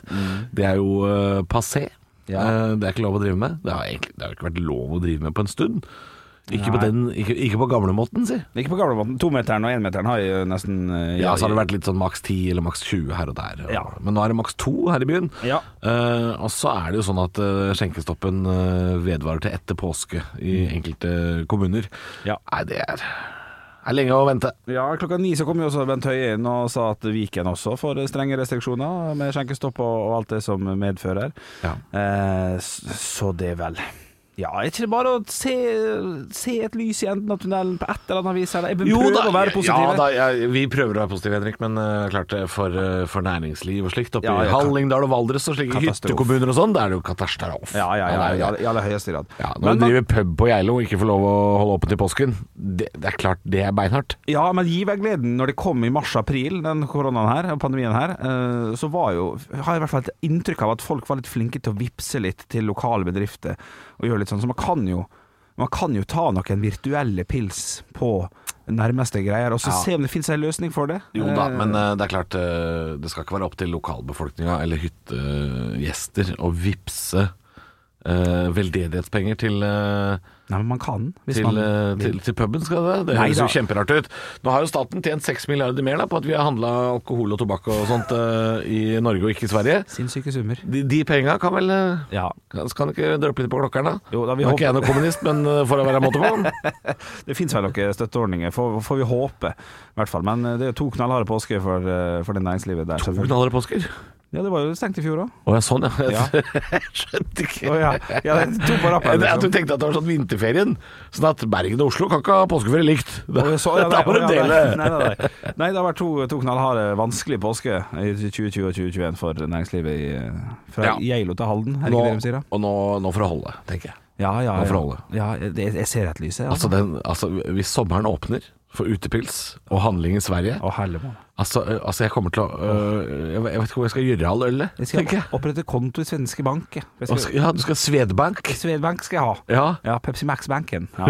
Speaker 3: det er jo eh, passé.
Speaker 4: Mm. Ja.
Speaker 3: Eh, det er ikke lov å drive med. Det har, egentlig, det har jo ikke vært lov å drive med på en stund. Ikke på, den, ikke, ikke på gamlemåten, si.
Speaker 4: Ikke på gamlemåten. Tometeren og énmeteren har jo nesten øh,
Speaker 3: Ja, så har det vært litt sånn maks 10 eller maks 20 her og der. og-
Speaker 4: Ja.
Speaker 3: Men nå er det maks 2 her i byen.
Speaker 4: Ja.
Speaker 3: Eh, og så er det jo sånn at eh, skjenkestoppen eh, vedvarer til etter påske i enkelte kommuner.
Speaker 4: Mm. Ja.
Speaker 3: Nei, det er, er lenge å vente.
Speaker 4: Ja, klokka ni så kom jo også Bent Høie inn og sa at Viken også får strenge restriksjoner med skjenkestopp og, og alt det som medfører.
Speaker 3: Ja.
Speaker 4: Eh, s- så det vel. Ja, er ikke det bare å se, se et lys i enden av tunnelen på et eller annet vis? Eller? Jeg prøver å være positiv.
Speaker 3: ja,
Speaker 4: jeg.
Speaker 3: da jeg, vi prøver å være positive, Henrik, men eh, klart det for, eh, for næringsliv og slikt oppe
Speaker 4: Ja,
Speaker 3: i
Speaker 4: ja,
Speaker 3: Hallingdal og Valdres og slike
Speaker 4: Katastrof.
Speaker 3: hyttekommuner og sånn, da er det jo katastrofe.
Speaker 4: Ja, ja,
Speaker 3: det
Speaker 4: ja,
Speaker 3: er jo
Speaker 4: ja,
Speaker 3: det.
Speaker 4: i aller høyeste grad.
Speaker 3: Ja, når
Speaker 4: men,
Speaker 3: du driver pub på Geilo og ikke får lov å holde åpent i påsken, det, det er klart det er beinhardt.
Speaker 4: ja, men gi meg gleden. Når det kom i mars-april, den koronaen her, og pandemien her, eh, så var jo Har jeg i hvert fall et inntrykk av at folk var litt flinke til å vippse litt til lokale bedrifter og gjøre litt sånn. Så man kan jo man kan jo ta noen virtuelle pils på nærmeste greier, og så
Speaker 3: Ja.
Speaker 4: se om det finnes en løsning for det.
Speaker 3: Jo da,
Speaker 4: Eh,
Speaker 3: men eh, det er klart eh, det skal ikke være opp til lokalbefolkninga eller hyttegjester å vippse eh, veldedighetspenger til eh,
Speaker 4: Nei, men man kan. Hvis
Speaker 3: til,
Speaker 4: man
Speaker 3: eh,
Speaker 4: vil.
Speaker 3: til, til puben, skal det? Det
Speaker 4: Nei
Speaker 3: høres jo
Speaker 4: da.
Speaker 3: kjemperart ut. Nå har jo staten tjent 6 milliarder mer da, på at vi har handla alkohol og tobakk og sånt eh, i Norge og ikke i Sverige.
Speaker 4: Sinnssyke summer.
Speaker 3: De, de penga kan vel eh,
Speaker 4: Ja.
Speaker 3: kan, Skal den ikke dryppe litt på klokkeren, da?
Speaker 4: Jo, da, vi
Speaker 3: Nå er ikke jeg
Speaker 4: håper-
Speaker 3: noen kommunist, men eh, får jeg være måte
Speaker 4: [LAUGHS]
Speaker 3: på?
Speaker 4: Det finnes vel noen støtteordninger, får, får vi håpe. I hvert fall. Men eh, det er jo to knallharde påsker for, eh, for det næringslivet der. selvfølgelig.
Speaker 3: Knallharde påsker.
Speaker 4: Ja, det var jo stengt i fjor òg.
Speaker 3: Å ja, sånn ja.
Speaker 4: Ja.
Speaker 3: Jeg skjønte ikke.
Speaker 4: ja. ja, det er to på rappen.
Speaker 3: Det er At du
Speaker 4: Liksom.
Speaker 3: tenkte at det var sånn vinterferien. Sånn at Bergen og Oslo kan ikke ha påskeferie likt.
Speaker 4: Å, jeg
Speaker 3: [LAUGHS]
Speaker 4: så- ja, sånn
Speaker 3: Da
Speaker 4: nei,
Speaker 3: må
Speaker 4: å,
Speaker 3: du
Speaker 4: ja,
Speaker 3: dele.
Speaker 4: Nei, nei, nei, nei. nei, det har vært to, to knallharde, vanskelige påsker i 2020 og 2021 for næringslivet i, eh, fra
Speaker 3: Ja.
Speaker 4: Geilo til Halden. Er det
Speaker 3: Nå,
Speaker 4: ikke det de sier, da?
Speaker 3: og nå, nå for å holde, tenker jeg.
Speaker 4: Ja, ja,
Speaker 3: Nå får
Speaker 4: ja.
Speaker 3: holde.
Speaker 4: ja det, jeg ser et lys, jeg.
Speaker 3: Altså, den, altså Hvis sommeren åpner for utepils og handling i Sverige
Speaker 4: Å, herlig mann.
Speaker 3: altså, ø, altså, jeg kommer til å ø, Jeg vet jeg vet ikke hvor jeg skal gjøre av all ølet,
Speaker 4: Jeg
Speaker 3: tenker
Speaker 4: skal
Speaker 3: jeg.
Speaker 4: opprette konto i svenske bank. jeg. Jeg
Speaker 3: Og
Speaker 4: skal-
Speaker 3: skal- Ja, du skal ha Svedbank?
Speaker 4: Swedbank skal jeg ha.
Speaker 3: Ja.
Speaker 4: Ja, Pepsi Max-banken. Ja,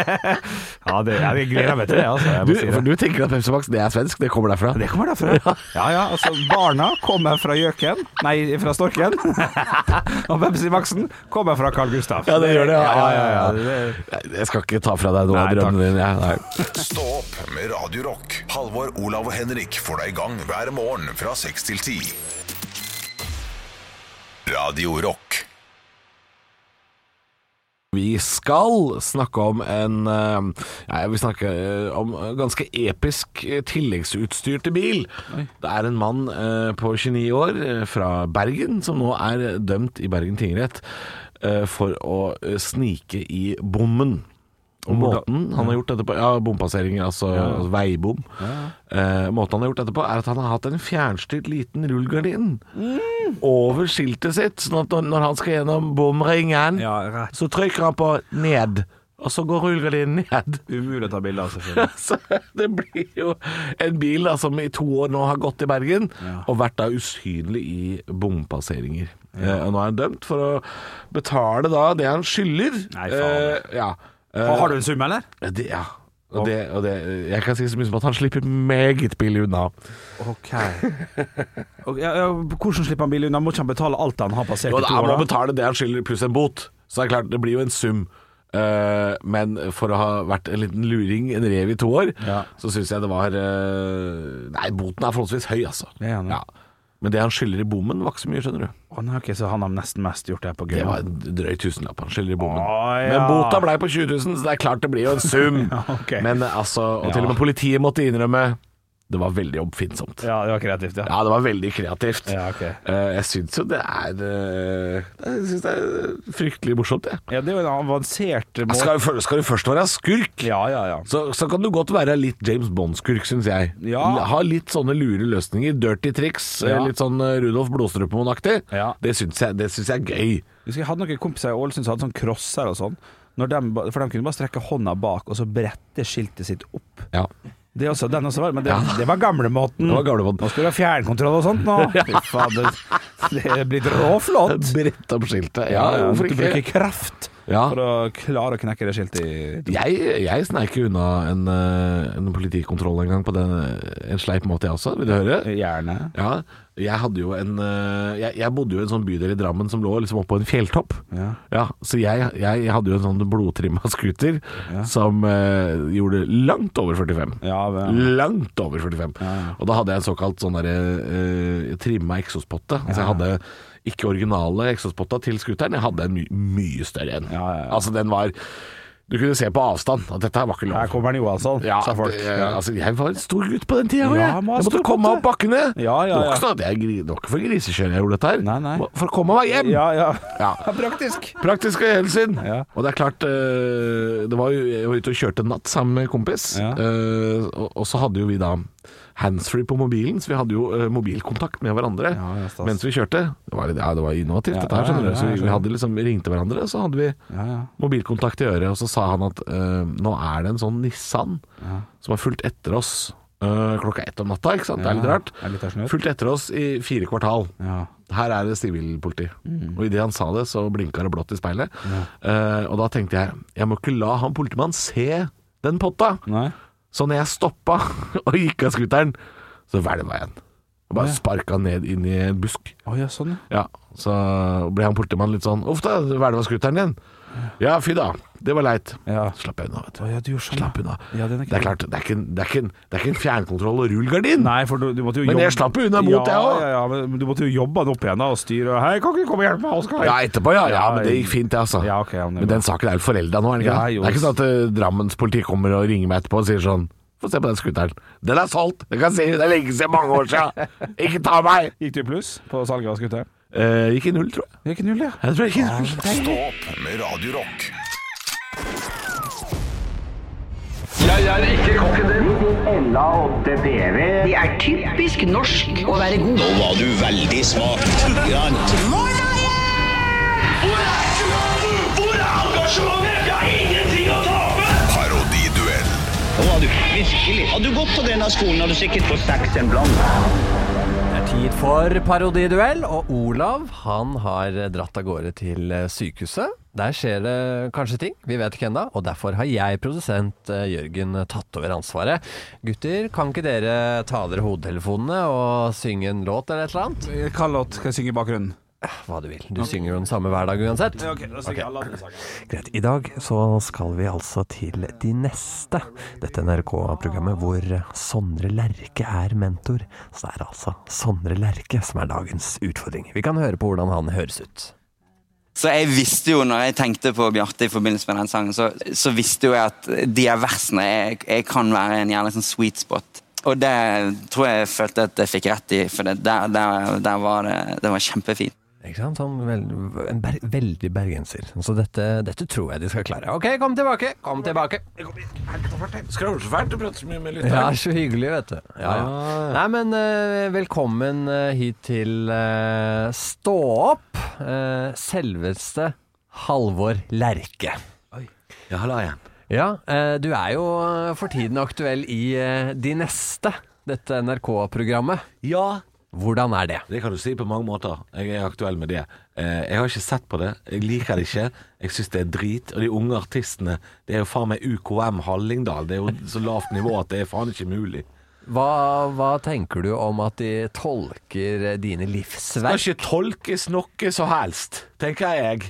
Speaker 4: [LAUGHS] ja det, jeg gleder meg til det, altså. Jeg
Speaker 3: Du,
Speaker 4: må si
Speaker 3: for
Speaker 4: det.
Speaker 3: du tenker at Pepsi Max det er svensk? Det kommer derfra?
Speaker 4: Det kommer derfra. Ja, ja, altså Barna kommer fra gjøken, nei, fra [LAUGHS] storken. Og Pepsi Maxen kommer fra Carl Gustav.
Speaker 3: Ja, det gjør det, ja.
Speaker 4: Ja, ja, ja, det-
Speaker 3: Jeg skal ikke ta fra deg noen av
Speaker 4: Nei, takk.
Speaker 3: drømmene dine. jeg. Nei.
Speaker 1: Stå opp med Radio Rock. Halvor, Olav og Henrik får deg i gang hver morgen fra 6 til 10. Radio Rock.
Speaker 3: Vi skal snakke om en eh, ja, Jeg vil snakke eh, om ganske episk eh, tilleggsutstyr til bil. Det er en mann eh, på 29 år eh, fra Bergen som nå er dømt i Bergen tingrett eh, for å eh, snike i bommen. Og måten han har gjort dette på Ja, bompasseringer, altså, altså veibom. Eh, måten han har gjort dette på, er at han har hatt en fjernstyrt liten rullegardin over skiltet sitt, sånn at når, når han skal gjennom bomringen
Speaker 4: Ja, rett.
Speaker 3: så trykker han på 'ned', og så går rullegardinen ned. [LAUGHS]
Speaker 4: Umulig å ta bilde av, selvfølgelig.
Speaker 3: Så det blir jo en bil da, som i to år nå har gått i Bergen, og vært da usynlig i bompasseringer. Eh, og nå er han dømt for å betale da det han skylder.
Speaker 4: Nei, faen.
Speaker 3: Eh, ja.
Speaker 4: Og
Speaker 3: Eh,
Speaker 4: Har du en sum, eller?
Speaker 3: det, ja. Og det, og det, jeg kan si så mye som at han slipper meget billig unna.
Speaker 4: OK. Og, ja, ja, hvordan slipper han bilen unna? Må ikke han betale alt han har passert i
Speaker 3: Og
Speaker 4: to
Speaker 3: han
Speaker 4: år?
Speaker 3: må
Speaker 4: da?
Speaker 3: betale det han skylder, pluss en bot. Så det er klart, det blir jo en sum. Eh, men for å ha vært en liten luring, en rev i to år,
Speaker 4: Ja.
Speaker 3: så syns jeg det var eh, Nei, boten er forholdsvis høy, altså.
Speaker 4: Det er han, ja.
Speaker 3: Men det han skylder i bommen, var ikke så mye, skjønner du.
Speaker 4: Å, nei, ok, så han har nesten mest gjort det her på gøy.
Speaker 3: Det var en drøy tusenlapp han skylder i bommen.
Speaker 4: Å, ja.
Speaker 3: Men bota blei på 20 000, så det er klart det blir jo en
Speaker 4: [LAUGHS]
Speaker 3: sum.
Speaker 4: ok.
Speaker 3: Men eh, altså Og til og med politiet måtte innrømme det var veldig oppfinnsomt.
Speaker 4: Ja, det var kreativt, ja.
Speaker 3: Ja, det var veldig kreativt.
Speaker 4: Ja, ok.
Speaker 3: Eh, jeg syns jo det er eh, Jeg syns det er eh, fryktelig morsomt, jeg.
Speaker 4: Ja, det er jo en avansert
Speaker 3: Ja,
Speaker 4: måte.
Speaker 3: Skal, du- skal du først være skurk,
Speaker 4: Ja, ja, ja.
Speaker 3: så, så kan du godt være litt James Bond-skurk, syns jeg.
Speaker 4: Ja.
Speaker 3: Ha litt sånne lure løsninger. Dirty tricks. eh,
Speaker 4: Ja.
Speaker 3: Litt sånn eh, Rudolf Blodstrupemoen-aktig.
Speaker 4: Ja.
Speaker 3: Det syns jeg, det syns jeg er gøy.
Speaker 4: Jeg husker jeg hadde noen kompiser i Ålesund som hadde sånn crosser og sånn. Når dem ba- for de kunne bare strekke hånda bak og så brette skiltet sitt opp.
Speaker 3: Ja.
Speaker 4: Det også, den også var, men det, det var gamlemåten.
Speaker 3: Det var gamlemåten.
Speaker 4: Nå skal du ha fjernkontroll og
Speaker 3: [LAUGHS]
Speaker 4: sånn nå. Fy faen, det, det er blitt råflott.
Speaker 3: [LAUGHS] Brett opp skiltet. Ja, hvorfor
Speaker 4: Du bruker
Speaker 3: ikke?
Speaker 4: kraft
Speaker 3: Ja.
Speaker 4: for å klare å knekke det skiltet i
Speaker 3: Jeg, jeg sneik jo unna en, eh, en politikontroll en gang på den, en sleip måte, jeg også. Vil du høre?
Speaker 4: jernet.
Speaker 3: Ja, jeg hadde jo en eh, jeg, jeg bodde jo i en sånn bydel i Drammen som lå liksom oppå en fjelltopp.
Speaker 4: Ja.
Speaker 3: så jeg, jeg hadde jo en sånn blodtrimma scooter som eh, gjorde langt over 45.
Speaker 4: Ja, men-
Speaker 3: Langt over 45. Og da hadde jeg en såkalt sånn derre eh, trimma eksospotte. Altså jeg hadde ikke originale eksospotta til scooteren, jeg hadde en my mye større en.
Speaker 4: Ja, ja, ja.
Speaker 3: Altså den var Du kunne se på avstand at dette her var ikke lov.
Speaker 4: her kommer den Johansson,
Speaker 3: Ja,
Speaker 4: sa folk.
Speaker 3: det- jeg, altså, jeg var en stor gutt på den tida. jeg.
Speaker 4: Ja,
Speaker 3: jeg
Speaker 4: man var
Speaker 3: måtte
Speaker 4: stor
Speaker 3: komme meg
Speaker 4: gutt,
Speaker 3: opp bakkene.
Speaker 4: Ja, ja,
Speaker 3: Det var
Speaker 4: ja.
Speaker 3: ikke sånn at jeg gri- det var ikke for grisekjøring jeg gjorde dette her.
Speaker 4: Nei, nei.
Speaker 3: For å komme meg hjem.
Speaker 4: Ja, [LAUGHS] ja.
Speaker 3: Ja.
Speaker 4: Praktisk.
Speaker 3: Praktiske hensyn.
Speaker 4: Ja.
Speaker 3: Og det er klart eh, det var jo, Jeg var ute og kjørte en natt sammen med en kompis,
Speaker 4: Ja.
Speaker 3: eh, og, og så hadde jo vi da handsfree på mobilen, så vi hadde jo eh, mobilkontakt med hverandre
Speaker 4: Ja, ja, stas.
Speaker 3: mens vi kjørte. Det var, litt- ja, det var innovativt,
Speaker 4: Ja,
Speaker 3: dette her,
Speaker 4: ja,
Speaker 3: skjønner
Speaker 4: ja,
Speaker 3: du. Så
Speaker 4: jeg
Speaker 3: vi, vi hadde liksom ringte hverandre, så hadde vi
Speaker 4: Ja, ja.
Speaker 3: mobilkontakt i øret, og så sa han at eh, nå er det en sånn Nissan som har fulgt etter oss eh, klokka ett om natta, ikke sant? Det er litt
Speaker 4: Ja,
Speaker 3: rart.
Speaker 4: det er litt av snø.
Speaker 3: Fulgt etter oss i fire kvartal.
Speaker 4: Ja.
Speaker 3: Her er det sivilpoliti. Og idet han sa det, så blinka det blått i speilet. Eh, og da tenkte jeg jeg må ikke la han politimannen se den potta.
Speaker 4: Nei.
Speaker 3: Så når jeg stoppa [LAUGHS] og gikk av scooteren, så hvelva jeg den. Og bare sparka den ned inn i en busk.
Speaker 4: Å ja, sånn, ja.
Speaker 3: Ja, så ble han politimannen litt sånn Uff da, hvelva skuteren din. Ja, fy da. Det var leit.
Speaker 4: Ja.
Speaker 3: Slapp unna, vet du.
Speaker 4: Å ja, du gjorde sånn. ja.
Speaker 3: Slapp unna.
Speaker 4: Ja, den er
Speaker 3: det er klart, det er ikke en, det er ikke en, det er ikke en fjernkontroll og rullegardin.
Speaker 4: Nei, for du, du måtte jo
Speaker 3: Men
Speaker 4: jobbe-
Speaker 3: jeg slapp jo unna mot, jeg også.
Speaker 4: Ja, ja, men du måtte jo jobbe han opp igjen da, og styre. Hei, kan ikke du komme og hjelpe meg, Oskar?
Speaker 3: Ja, etterpå, ja. ja.
Speaker 4: Ja,
Speaker 3: Men det gikk fint, det, altså.
Speaker 4: Ja, ok, ja, men det er
Speaker 3: men den saken er jo forelda nå, er den ikke
Speaker 4: Ja,
Speaker 3: det?
Speaker 4: jo.
Speaker 3: Det er ikke sånn at eh, Drammens politi kommer og ringer meg etterpå og sier sånn Få se på den skuteren. Den er solgt! Det kan si, det er lenge siden, mange år siden! Ikke ta meg!
Speaker 4: Gikk du i pluss på salget av skutteren?
Speaker 3: Eh, gikk i null, tror jeg.
Speaker 4: Det gikk i null, ja.
Speaker 3: Jeg tror jeg gikk i null.
Speaker 1: Stå opp med Radio Rock.
Speaker 8: Jeg er ikke kokken din. Ella 8 PV.
Speaker 9: Det er typisk norsk å være god.
Speaker 10: Nå var du veldig smak. Grann.
Speaker 7: Hvor er engasjementet? Hvor er engasjementet? Vi har ingenting å tape!
Speaker 1: Parodiduell.
Speaker 10: Nå var du virkelig. Hadde du gått på denne skolen, hadde du sikkert fått seks en blant.
Speaker 5: Det er tid for parodiduell, og Olav han har dratt av gårde til eh, sykehuset. Der skjer det kanskje ting, vi vet ikke ennå, og derfor har jeg, produsent eh, Jørgen, tatt over ansvaret. Gutter, kan ikke dere ta av dere hodetelefonene og synge en låt eller et eller annet?
Speaker 4: Hva låt Eh, skal jeg synge i bakgrunnen?
Speaker 5: Hva du vil. Du synger jo den samme hver dag uansett.
Speaker 4: Ok, da synger jeg Aladdin-sangen.
Speaker 5: Greit. I dag så skal vi altså til De neste. Dette NRK-programmet hvor Sondre Lerche er mentor. Så det er altså Sondre Lerche som er dagens utfordring. Vi kan høre på hvordan han høres ut.
Speaker 11: Så jeg visste jo, når jeg tenkte på Bjarte i forbindelse med den sangen, så, så visste jo jeg at de her versene jeg, jeg kan være en gjerne sånn sweet spot. Og det tror jeg jeg følte at jeg fikk rett i, for det, der, der, der var det, det var kjempefint.
Speaker 5: Ikke sant? Sånn vel, en ber veldig bergenser. Så dette, dette tror jeg de skal klare. Ok, kom tilbake! Kom tilbake!
Speaker 3: Skravler så fælt, du prater så mye med
Speaker 5: Ja, så hyggelig, vet du. Ja, ja. Nei, men eh, velkommen eh, hit til eh, Stå opp, eh, selveste Halvor Lerche.
Speaker 3: Ja, la igjen.
Speaker 5: Ja, eh, du er jo eh, for tiden aktuell i eh, De neste, dette NRK-programmet.
Speaker 3: Ja,
Speaker 5: Hvordan er det?
Speaker 3: Det kan du si på mange måter. Jeg er aktuell med det. Eh, Jeg har ikke sett på det. Jeg liker det ikke. Jeg syns det er drit. Og de unge artistene Det er jo faen meg UKM Hallingdal. Det er jo så lavt nivå at det er faen ikke mulig.
Speaker 5: Hva, hva tenker du om at de tolker eh, dine
Speaker 3: Det
Speaker 5: livsverk?
Speaker 3: kan ikke tolkes noe så helst, tenker jeg.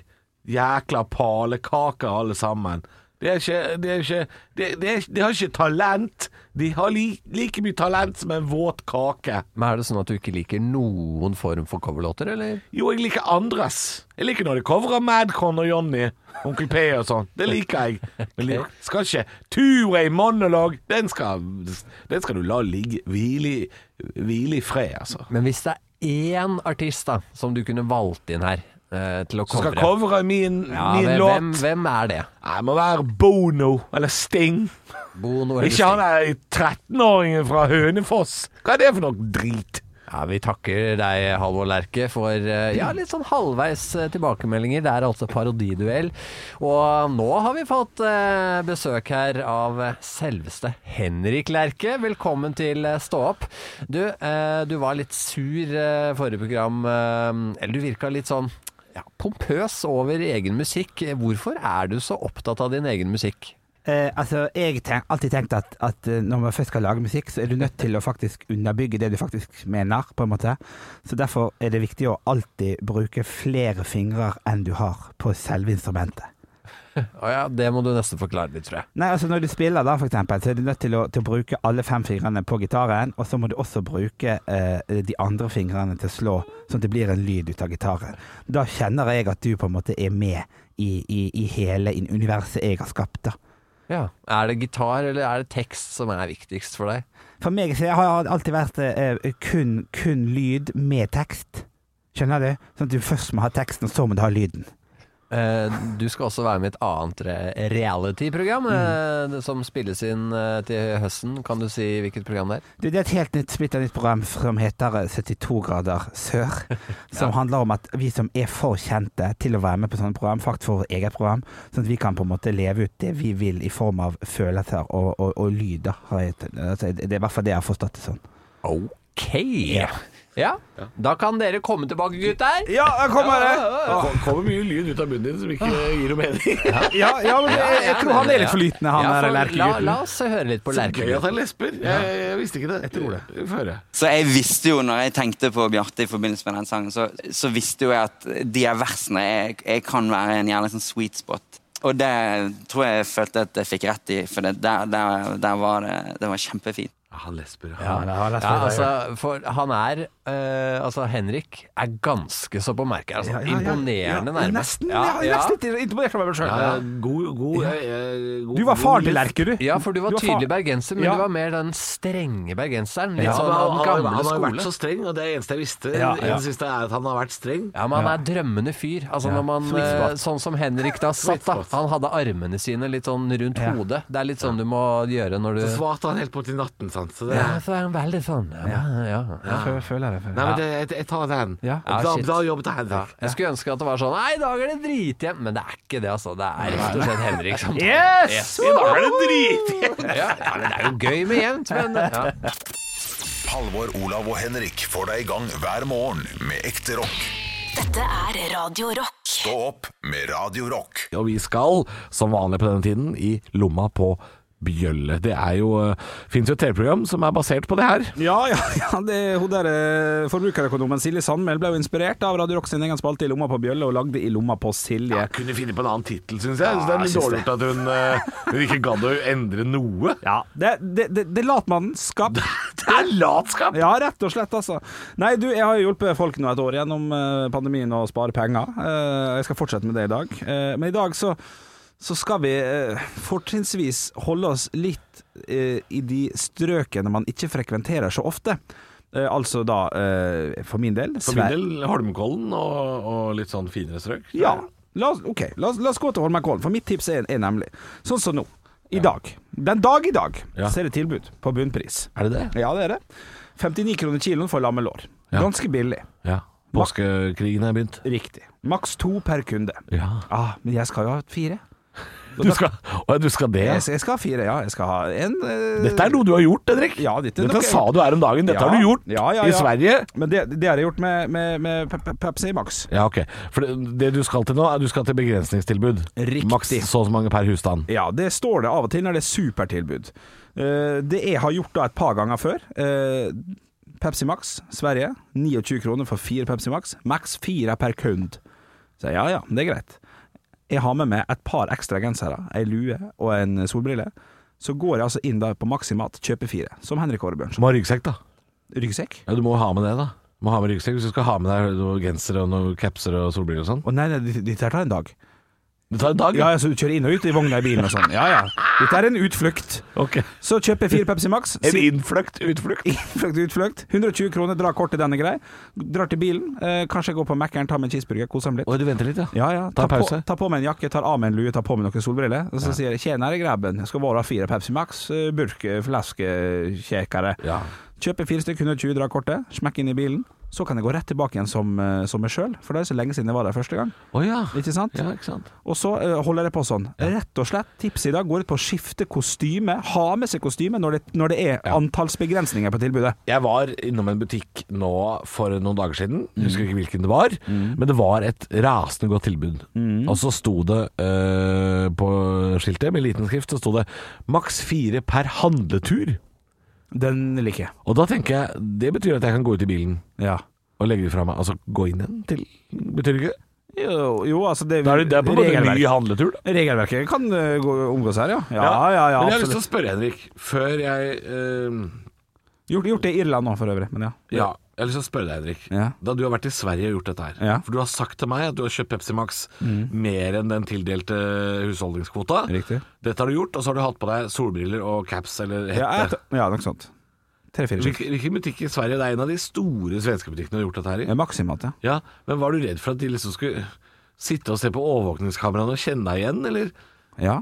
Speaker 3: Jækla palekaker, alle sammen. Det er ikke De, er ikke, det- det er- de har ikke talent. De har li, like mye talent som en våt kake.
Speaker 5: Men er det sånn at du ikke liker noen form for coverlåter, eller?
Speaker 3: Jo, jeg liker andres. Jeg liker når de covrer Madcon og Johnny, Onkel P og sånn. Det liker
Speaker 5: [LAUGHS]
Speaker 3: jeg. Men jeg skal ikke Ture i monolog. Den skal, den skal du la ligge. Hvile, i- hvile i fred, altså.
Speaker 5: Men hvis det er én artist da, som du kunne valgt inn her eh, til å
Speaker 3: Som skal
Speaker 5: covre
Speaker 3: covre min,
Speaker 5: ja,
Speaker 3: min
Speaker 5: hvem,
Speaker 3: låt.
Speaker 5: Hvem, hvem er det?
Speaker 3: Jeg må være Bono eller Sting.
Speaker 5: Bono eller
Speaker 3: Ikke han
Speaker 5: Sting?
Speaker 3: der 13-åringen fra Hønefoss. Hva er det for noe drit?
Speaker 5: Ja, vi takker deg, Halvor Lerche, for eh, ja, litt sånn halvveis eh, tilbakemeldinger. Det er altså parodiduell. Og nå har vi fått eh, besøk her av eh, selveste Henrik Lerche. Velkommen til eh, Stå opp. Du, eh, du var litt sur eh, forrige program. eh, Eller du virka litt sånn ja, pompøs over egen musikk. Hvorfor er du så opptatt av din egen musikk?
Speaker 12: Eh, altså, jeg har alltid tenkt at, at eh, når man først skal lage musikk, så er du nødt til å faktisk underbygge det du faktisk mener, på en måte. Så derfor er det viktig å alltid bruke flere fingrer enn du har på selve instrumentet.
Speaker 5: Å ja, det må du nesten forklare litt, tror jeg.
Speaker 12: Nei, altså når du spiller da, for eksempel, så er du nødt til å, til å bruke alle fem fingrene på gitaren, og så må du også bruke eh, de andre fingrene til å slå, sånn at det blir en lyd ut av gitaren. Da kjenner jeg at du på en måte er med i, i, i hele universet jeg har skapt, da.
Speaker 5: Ja. Er det gitar eller er det tekst som er viktigst for deg?
Speaker 12: For meg så har det alltid vært eh, kun, kun lyd med tekst. Skjønner du? Sånn at du først må ha teksten, og så må du ha lyden.
Speaker 5: Eh, Du skal også være med i et annet re- reality-program
Speaker 4: Mm.
Speaker 5: eh, det som spilles inn eh, til høsten. Kan du si hvilket program det er?
Speaker 12: Du, det er et helt nytt splitter nytt program som heter eh, 72 grader sør. Som handler om at vi som er for kjente til å være med på sånne program, faktisk får vårt eget program. Sånn at vi kan på en måte leve ut det vi vil i form av følelser og, og, og lyder. har jeg- altså, Det er i hvert fall det jeg har forstått det sånn.
Speaker 5: Ok! Ja, da kan dere komme tilbake, gutter.
Speaker 4: Ja, der kommer det.
Speaker 3: Det kommer mye lyd ut av munnen din som ikke gir noe mening.
Speaker 4: Ja, ja, men jeg, jeg tror han er litt for liten, han der
Speaker 5: La,
Speaker 4: lerkegutten.
Speaker 5: la oss høre litt på
Speaker 3: Så gøy at han
Speaker 5: lerkegutten.
Speaker 3: lesber. Jeg, jeg visste ikke det. Jeg tror det. Vi får høre.
Speaker 11: Så jeg visste jo, når jeg tenkte på Bjarte i forbindelse med den sangen, så, så visste jo jeg at de her versene jeg, jeg kan være en jævlig sånn sweet spot. Og det tror jeg jeg følte at jeg fikk rett i, for det, der, der, der var det, det var kjempefint.
Speaker 3: Han lesber,
Speaker 5: Ja, ja, altså, for han er eh, Altså, Henrik er ganske så på merket. her, Altså,
Speaker 4: Ja, ja, ja.
Speaker 5: Imponerende,
Speaker 4: Ja,
Speaker 5: nærmest.
Speaker 4: Nesten. Jeg har nesten litt imponert over meg sjøl.
Speaker 3: God, god,
Speaker 4: Du var faren til Lerke, du.
Speaker 5: Ja, for du var
Speaker 4: Du var
Speaker 5: tydelig
Speaker 4: far-
Speaker 5: bergenser, men
Speaker 4: Ja.
Speaker 5: du var mer den strenge bergenseren. Litt
Speaker 3: Ja,
Speaker 5: sånn
Speaker 3: men
Speaker 5: av
Speaker 3: han,
Speaker 5: den
Speaker 3: han,
Speaker 5: gamle
Speaker 3: han har jo
Speaker 5: skole.
Speaker 3: vært så streng, og det er det eneste jeg visste.
Speaker 5: Ja,
Speaker 3: Det
Speaker 5: ja.
Speaker 3: eneste siste er at han har vært streng.
Speaker 5: Ja, men han er drømmende fyr. Altså
Speaker 3: Ja.
Speaker 5: når man,
Speaker 3: Sweet spot.
Speaker 5: eh, Sånn som Henrik [LAUGHS] da satt, da. Han hadde armene sine litt sånn rundt hodet. Det er litt sånn du må gjøre når du
Speaker 3: Så svarte han helt borti natten, sant. Så det,
Speaker 5: Ja, så er han veldig sånn. Ja, ja, ja.
Speaker 12: Jeg føler det.
Speaker 3: Nei, men det, jeg, jeg tar den.
Speaker 5: Ja.
Speaker 3: Bra,
Speaker 5: Ja, shit.
Speaker 3: bra jobb til Henrik.
Speaker 5: Jeg skulle ønske at det var sånn Nei, i dag er det dritjevnt. Men det er ikke det, altså. Det er rett og slett Henrik som
Speaker 4: Yes!
Speaker 5: I dag er det dritjevnt! Ja, ja, men det er jo gøy med jevnt, men [LAUGHS] ja.
Speaker 1: Halvor, Olav og Henrik får deg i gang hver morgen med ekte rock.
Speaker 2: Dette er Radio Rock.
Speaker 1: Stå opp med Radio Rock.
Speaker 3: Og vi skal, som vanlig på denne tiden, i lomma på Bjølle. Det er jo Fins jo et TV-program som er basert på det her.
Speaker 4: Ja, ja, ja det, hun der eh, forbrukerøkonomen Silje Sandmæl ble jo inspirert av Radio Rock sin egen spalte I lomma på Bjølle, og lagde I lomma på Silje.
Speaker 3: kunne finne på en annen tittel, syns jeg. Så det
Speaker 4: Ja,
Speaker 3: er
Speaker 4: jeg
Speaker 3: litt
Speaker 4: syns
Speaker 3: dårlig gjort at hun, eh, hun ikke gadd å endre [LAUGHS] noe.
Speaker 4: Ja, Det, det, det, det er latmannskap.
Speaker 3: Det er latskap!
Speaker 4: Ja, rett og slett, altså. Nei, du, jeg har jo hjulpet folk nå et år gjennom eh, pandemien å spare penger. Eh, Jeg skal fortsette med det i dag. Eh, Men i dag så, så skal vi eh, fortrinnsvis holde oss litt eh, i de strøkene man ikke frekventerer så ofte. Eh, Altså da, eh, for min del
Speaker 3: For min del Holmenkollen og, og litt sånn finere strøk.
Speaker 4: Ja. La oss, ok, la oss, la oss gå til Holmenkollen, for mitt tips er, er nemlig sånn som nå. I dag. Den dag i dag
Speaker 3: Ja.
Speaker 4: så er det tilbud på bunnpris.
Speaker 3: Er det det?
Speaker 4: Ja, det er det. 59 kroner kiloen for lammelår.
Speaker 3: Ja.
Speaker 4: Ganske billig.
Speaker 3: Ja. Påskekrigen er begynt.
Speaker 4: Riktig. Maks to per kunde.
Speaker 3: Ja.
Speaker 4: Ah, men jeg skal jo ha fire.
Speaker 3: Du skal, å, du skal det? ja.
Speaker 4: Jeg, jeg skal ha fire, ja. Jeg skal ha en eh,
Speaker 3: Dette er noe du har gjort, Henrik.
Speaker 4: Ja, dette er
Speaker 3: dette
Speaker 4: noe jeg
Speaker 3: sa
Speaker 4: har
Speaker 3: du her om dagen. Dette
Speaker 4: Ja.
Speaker 3: har du gjort
Speaker 4: Ja, ja,
Speaker 3: i
Speaker 4: ja.
Speaker 3: Sverige.
Speaker 4: Men det, det har jeg gjort med, med, med Pe- Pe- Pepsi Max.
Speaker 3: Ja, ok. For det, det du skal til nå, er du skal til begrensningstilbud.
Speaker 4: Riktig.
Speaker 3: Maks så og så mange per husstand.
Speaker 4: Ja, det står det av og til når det er supertilbud. Eh, Det jeg har gjort da et par ganger før eh, Pepsi Max, Sverige. 29 kroner for fire Pepsi Max. Max fire per kund. Så jeg, ja ja, det er greit. Jeg har med meg et par ekstra gensere, ei lue og en solbrille. Så går jeg altså inn da på Maximat, kjøper fire, som Henrik Årebjørnsen.
Speaker 3: Må ha ryggsekk, da.
Speaker 4: Ryggsekk?
Speaker 3: Ja, Du må jo ha med det, da. Du må ha med ryggsekk hvis du skal ha med deg noe genser og noe capser og solbriller og sånn.
Speaker 4: Å nei, nei, dette dette her tar en dag.
Speaker 3: Det tar en dag,
Speaker 4: Ja, ja, så du kjører inn og ut i vogna i bilen og sånn. Ja, ja. Dette er en utflukt.
Speaker 3: Ok.
Speaker 4: Så kjøper jeg fire Pepsi Max.
Speaker 3: En innfløkt utflukt.
Speaker 4: Innflukt, utflukt. 120 kroner, drar kortet denne grei. Drar til bilen. Eh, kanskje jeg går på Mækkern, tar meg en cheeseburger, koser meg litt.
Speaker 3: Oi, du venter litt, ja.
Speaker 4: Ja, ja.
Speaker 3: Ta en
Speaker 4: på,
Speaker 3: pause.
Speaker 4: ta på meg en jakke, tar av meg en lue, tar på meg noen solbriller. Og så sier jeg 'tjenere, grabben, jeg skal bare ha fire Pepsi Max, eh, burk, eh, flaskekjekere'.
Speaker 3: Ja.
Speaker 4: Kjøper fire stykker 120, drar kortet, smekk inn i bilen. Så kan jeg gå rett tilbake igjen som, eh, som meg sjøl, for det er så lenge siden jeg var der første gang.
Speaker 3: Å ja.
Speaker 4: Ikke sant?
Speaker 3: ja. Ikke sant.
Speaker 4: Og så eh, holder jeg på sånn. Rett og slett, tipset i dag går ut på å skifte kostyme. Ha med seg kostyme når det, når det er antallsbegrensninger på tilbudet.
Speaker 3: Jeg var innom en butikk nå for noen dager siden, jeg husker ikke hvilken det var, men det var et rasende godt tilbud. Og så sto det eh, på skiltet med liten skrift, så sto det 'maks fire per handletur'.
Speaker 4: Den liker jeg.
Speaker 3: Og da tenker jeg, det betyr at jeg kan gå ut i bilen
Speaker 4: Ja.
Speaker 3: og legge det fra meg. Altså gå inn igjen til Betyr det ikke det?
Speaker 4: Jo, jo altså det,
Speaker 3: Da er det, det er på en måte en ny handletur, da.
Speaker 4: Regelverket kan eh, gå, omgås her, ja. Ja, ja, ja,
Speaker 3: men liksom- jeg har lyst til
Speaker 4: absolutt.
Speaker 3: å spørre Henrik, før jeg eh,
Speaker 4: Gjort, gjort det i Irland nå, for øvrig. Men ja.
Speaker 3: Ja, jeg har lyst til å spørre deg, Henrik.
Speaker 4: Ja.
Speaker 3: Da du har vært i Sverige og gjort dette her
Speaker 4: Ja. Mm.
Speaker 3: For du har sagt til meg at du har kjøpt Pepsi Max mer enn den tildelte husholdningskvota.
Speaker 4: Riktig.
Speaker 3: Dette har du gjort, og så har du hatt på deg solbriller og caps eller
Speaker 4: Ja,
Speaker 3: hette.
Speaker 4: et, ja, nok sånt. Tre-fire stykker.
Speaker 3: Hvilke, hvilke butikker i Sverige? Det er en av de store svenske butikkene du har gjort dette her i.
Speaker 4: Ja, Maksimalt, ja.
Speaker 3: Ja, Men var du redd for at de liksom skulle sitte og se på overvåkningskameraene og kjenne deg igjen, eller?
Speaker 4: Ja.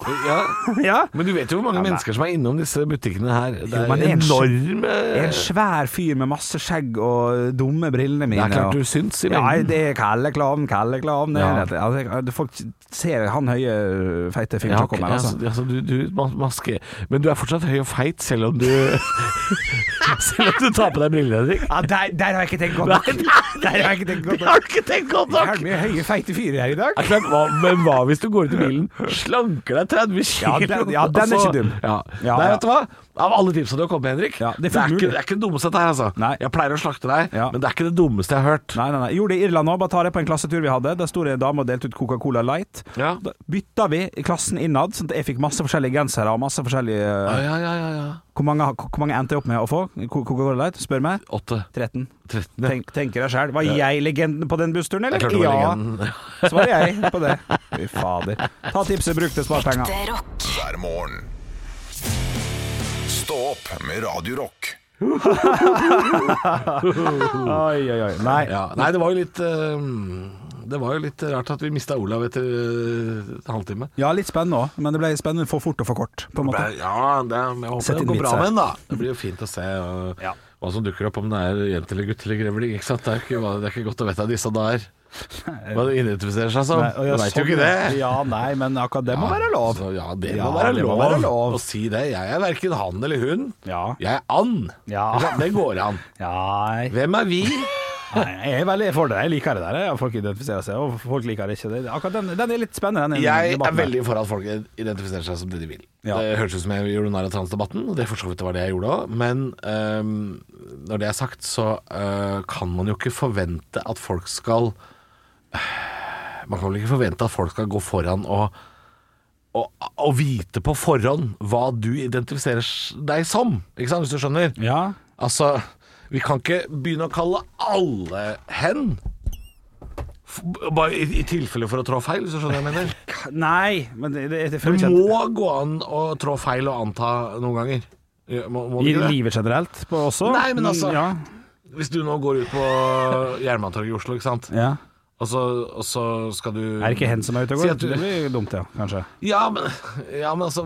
Speaker 3: Ja.
Speaker 4: ja.
Speaker 3: Men du vet jo hvor mange mennesker som er innom disse butikkene her. Det
Speaker 4: men
Speaker 3: er
Speaker 4: en-
Speaker 3: enorme
Speaker 4: Jeg er en svær fyr med masse skjegg og dumme brillene mine.
Speaker 3: Det er klart du
Speaker 4: og-
Speaker 3: syns i
Speaker 4: Ja,
Speaker 3: mengden.
Speaker 4: det er Kalle Klovn, Kalle Klovn. det er
Speaker 3: Ja.
Speaker 4: det. Altså, det- folk ser han høye, feite fyren
Speaker 3: Ja,
Speaker 4: som
Speaker 3: ok,
Speaker 4: kommer.
Speaker 3: altså,
Speaker 4: Altså.
Speaker 3: altså, du, du mas- maske Men du er fortsatt høy og feit selv om du [LAUGHS] Selv om du tar på deg brillene, Henrik.
Speaker 4: Ja, der, der har jeg ikke tenkt godt
Speaker 3: Nei,
Speaker 4: nok.
Speaker 3: nei,
Speaker 4: Der har jeg ikke tenkt godt
Speaker 3: det har [LAUGHS]
Speaker 4: nok.
Speaker 3: du ikke tenkt godt
Speaker 4: Det
Speaker 3: nok!
Speaker 4: er mye høye, feite fyrer her i dag.
Speaker 3: Det er klart, hva, men hva hvis du går ut i bilen, slanker deg 30
Speaker 4: Ja,
Speaker 3: kilo?
Speaker 4: den- ja, den er
Speaker 3: og så-
Speaker 4: ikke dum.
Speaker 3: Ja.
Speaker 4: Ja,
Speaker 3: Nei,
Speaker 4: ja.
Speaker 3: vet du hva? Av alle tipsene du har kommet med, Henrik,
Speaker 4: Ja,
Speaker 3: det,
Speaker 4: det
Speaker 3: er
Speaker 4: er fullt
Speaker 3: ikke,
Speaker 4: mulig.
Speaker 3: det er ikke det dummeste dette her, altså.
Speaker 4: Nei.
Speaker 3: Jeg pleier å slakte deg,
Speaker 4: Ja.
Speaker 3: men det er ikke det dummeste jeg har hørt.
Speaker 4: Nei, nei, nei. Jeg Gjorde det i Irland òg. Bare tar det på en klassetur vi hadde. Der sto det en dame og delte ut Coca-Cola Light.
Speaker 3: Ja.
Speaker 4: Da bytta vi i klassen innad, sånn at jeg fikk masse forskjellige gensere og masse
Speaker 3: Ja,
Speaker 4: forskjellige eh,
Speaker 3: ja, ja, ja, ja.
Speaker 4: Hvor mange, hvor mange endte jeg opp med å få? Co- Coca-Cola Light? Spør meg.
Speaker 3: Åtte.
Speaker 4: 13.
Speaker 3: Tretten. ja.
Speaker 4: Tenk, tenker deg sjæl. Var jeg legenden på den bussturen, eller?
Speaker 3: Det er klart det var legenden.
Speaker 4: Så var jeg på det. Fy fader. Ta tipset, bruk det, spar penger.
Speaker 2: Ekte rock.
Speaker 1: hver morgen. Stå opp med Radio Rock.
Speaker 4: Oi, oi, oi. Nei.
Speaker 3: Ja. Nei, det var jo litt eh, Det var jo litt rart at vi mista Olav etter eh, en halvtime.
Speaker 4: Ja, litt spennende òg, men det ble spennende for fort og for kort, på en måte.
Speaker 3: Ja, det, jeg håper
Speaker 4: Sett
Speaker 3: det
Speaker 4: inn Mm.
Speaker 3: går
Speaker 4: vits
Speaker 3: bra
Speaker 4: her.
Speaker 3: med den, da. Det blir jo fint å se uh, hva som dukker opp, om det er jente eller gutt eller grevling. Ikke sant? Det, er ikke, det er ikke godt å vite av disse
Speaker 4: [LAUGHS]
Speaker 3: dager. Hva det identifiserer seg som.
Speaker 4: Nei, og ja,
Speaker 3: du veit jo
Speaker 4: sånn,
Speaker 3: ikke det.
Speaker 4: Ja, nei, men akkurat det må
Speaker 3: Ja,
Speaker 4: være lov.
Speaker 3: så- ja, det
Speaker 4: Ja,
Speaker 3: må, være,
Speaker 4: det
Speaker 3: lov.
Speaker 4: må være lov.
Speaker 3: å si det. Jeg er verken han eller hun.
Speaker 4: Ja.
Speaker 3: Jeg er and.
Speaker 4: Ja.
Speaker 3: Ikke sant? Det går an.
Speaker 4: Nei,
Speaker 3: Hvem er vi?
Speaker 4: jeg er veldig for det. Jeg liker det der. ja. Folk identifiserer seg, og folk liker det ikke. Det- Akkurat den, den er litt spennende, den
Speaker 3: Jeg er
Speaker 4: debatten der.
Speaker 3: veldig for at folk identifiserer seg som det de vil.
Speaker 4: Ja.
Speaker 3: Det høres ut som jeg gjorde narr av transdebatten, og det for så vidt var det jeg gjorde òg. Men øhm, når det er sagt, så øh, kan man jo ikke forvente at folk skal [SIGHS] Man kan vel ikke forvente at folk skal gå foran og og, og vite på forhånd hva du identifiserer s- deg som, ikke sant, hvis du skjønner?
Speaker 4: Ja.
Speaker 3: Altså, vi kan ikke begynne å kalle alle hen. F- Bare i, i tilfelle for å trå feil, hvis du skjønner hva jeg mener.
Speaker 4: Nei, men det, det, det føles
Speaker 3: Det
Speaker 4: ikke
Speaker 3: må gå an å trå feil og anta noen ganger. Ja, Må, må det
Speaker 4: I
Speaker 3: ikke det?
Speaker 4: livet generelt på også. Mm,
Speaker 3: Nei, men altså-
Speaker 4: Ja.
Speaker 3: Hvis du nå går ut på Jernbanetorget i Oslo, ikke sant?
Speaker 4: ja.
Speaker 3: Og så, og så skal du
Speaker 4: Er det ikke hen som er ute og
Speaker 3: Si
Speaker 4: går?
Speaker 3: at du-
Speaker 4: Det blir dumt, ja. Kanskje.
Speaker 3: Ja, men, ja, men altså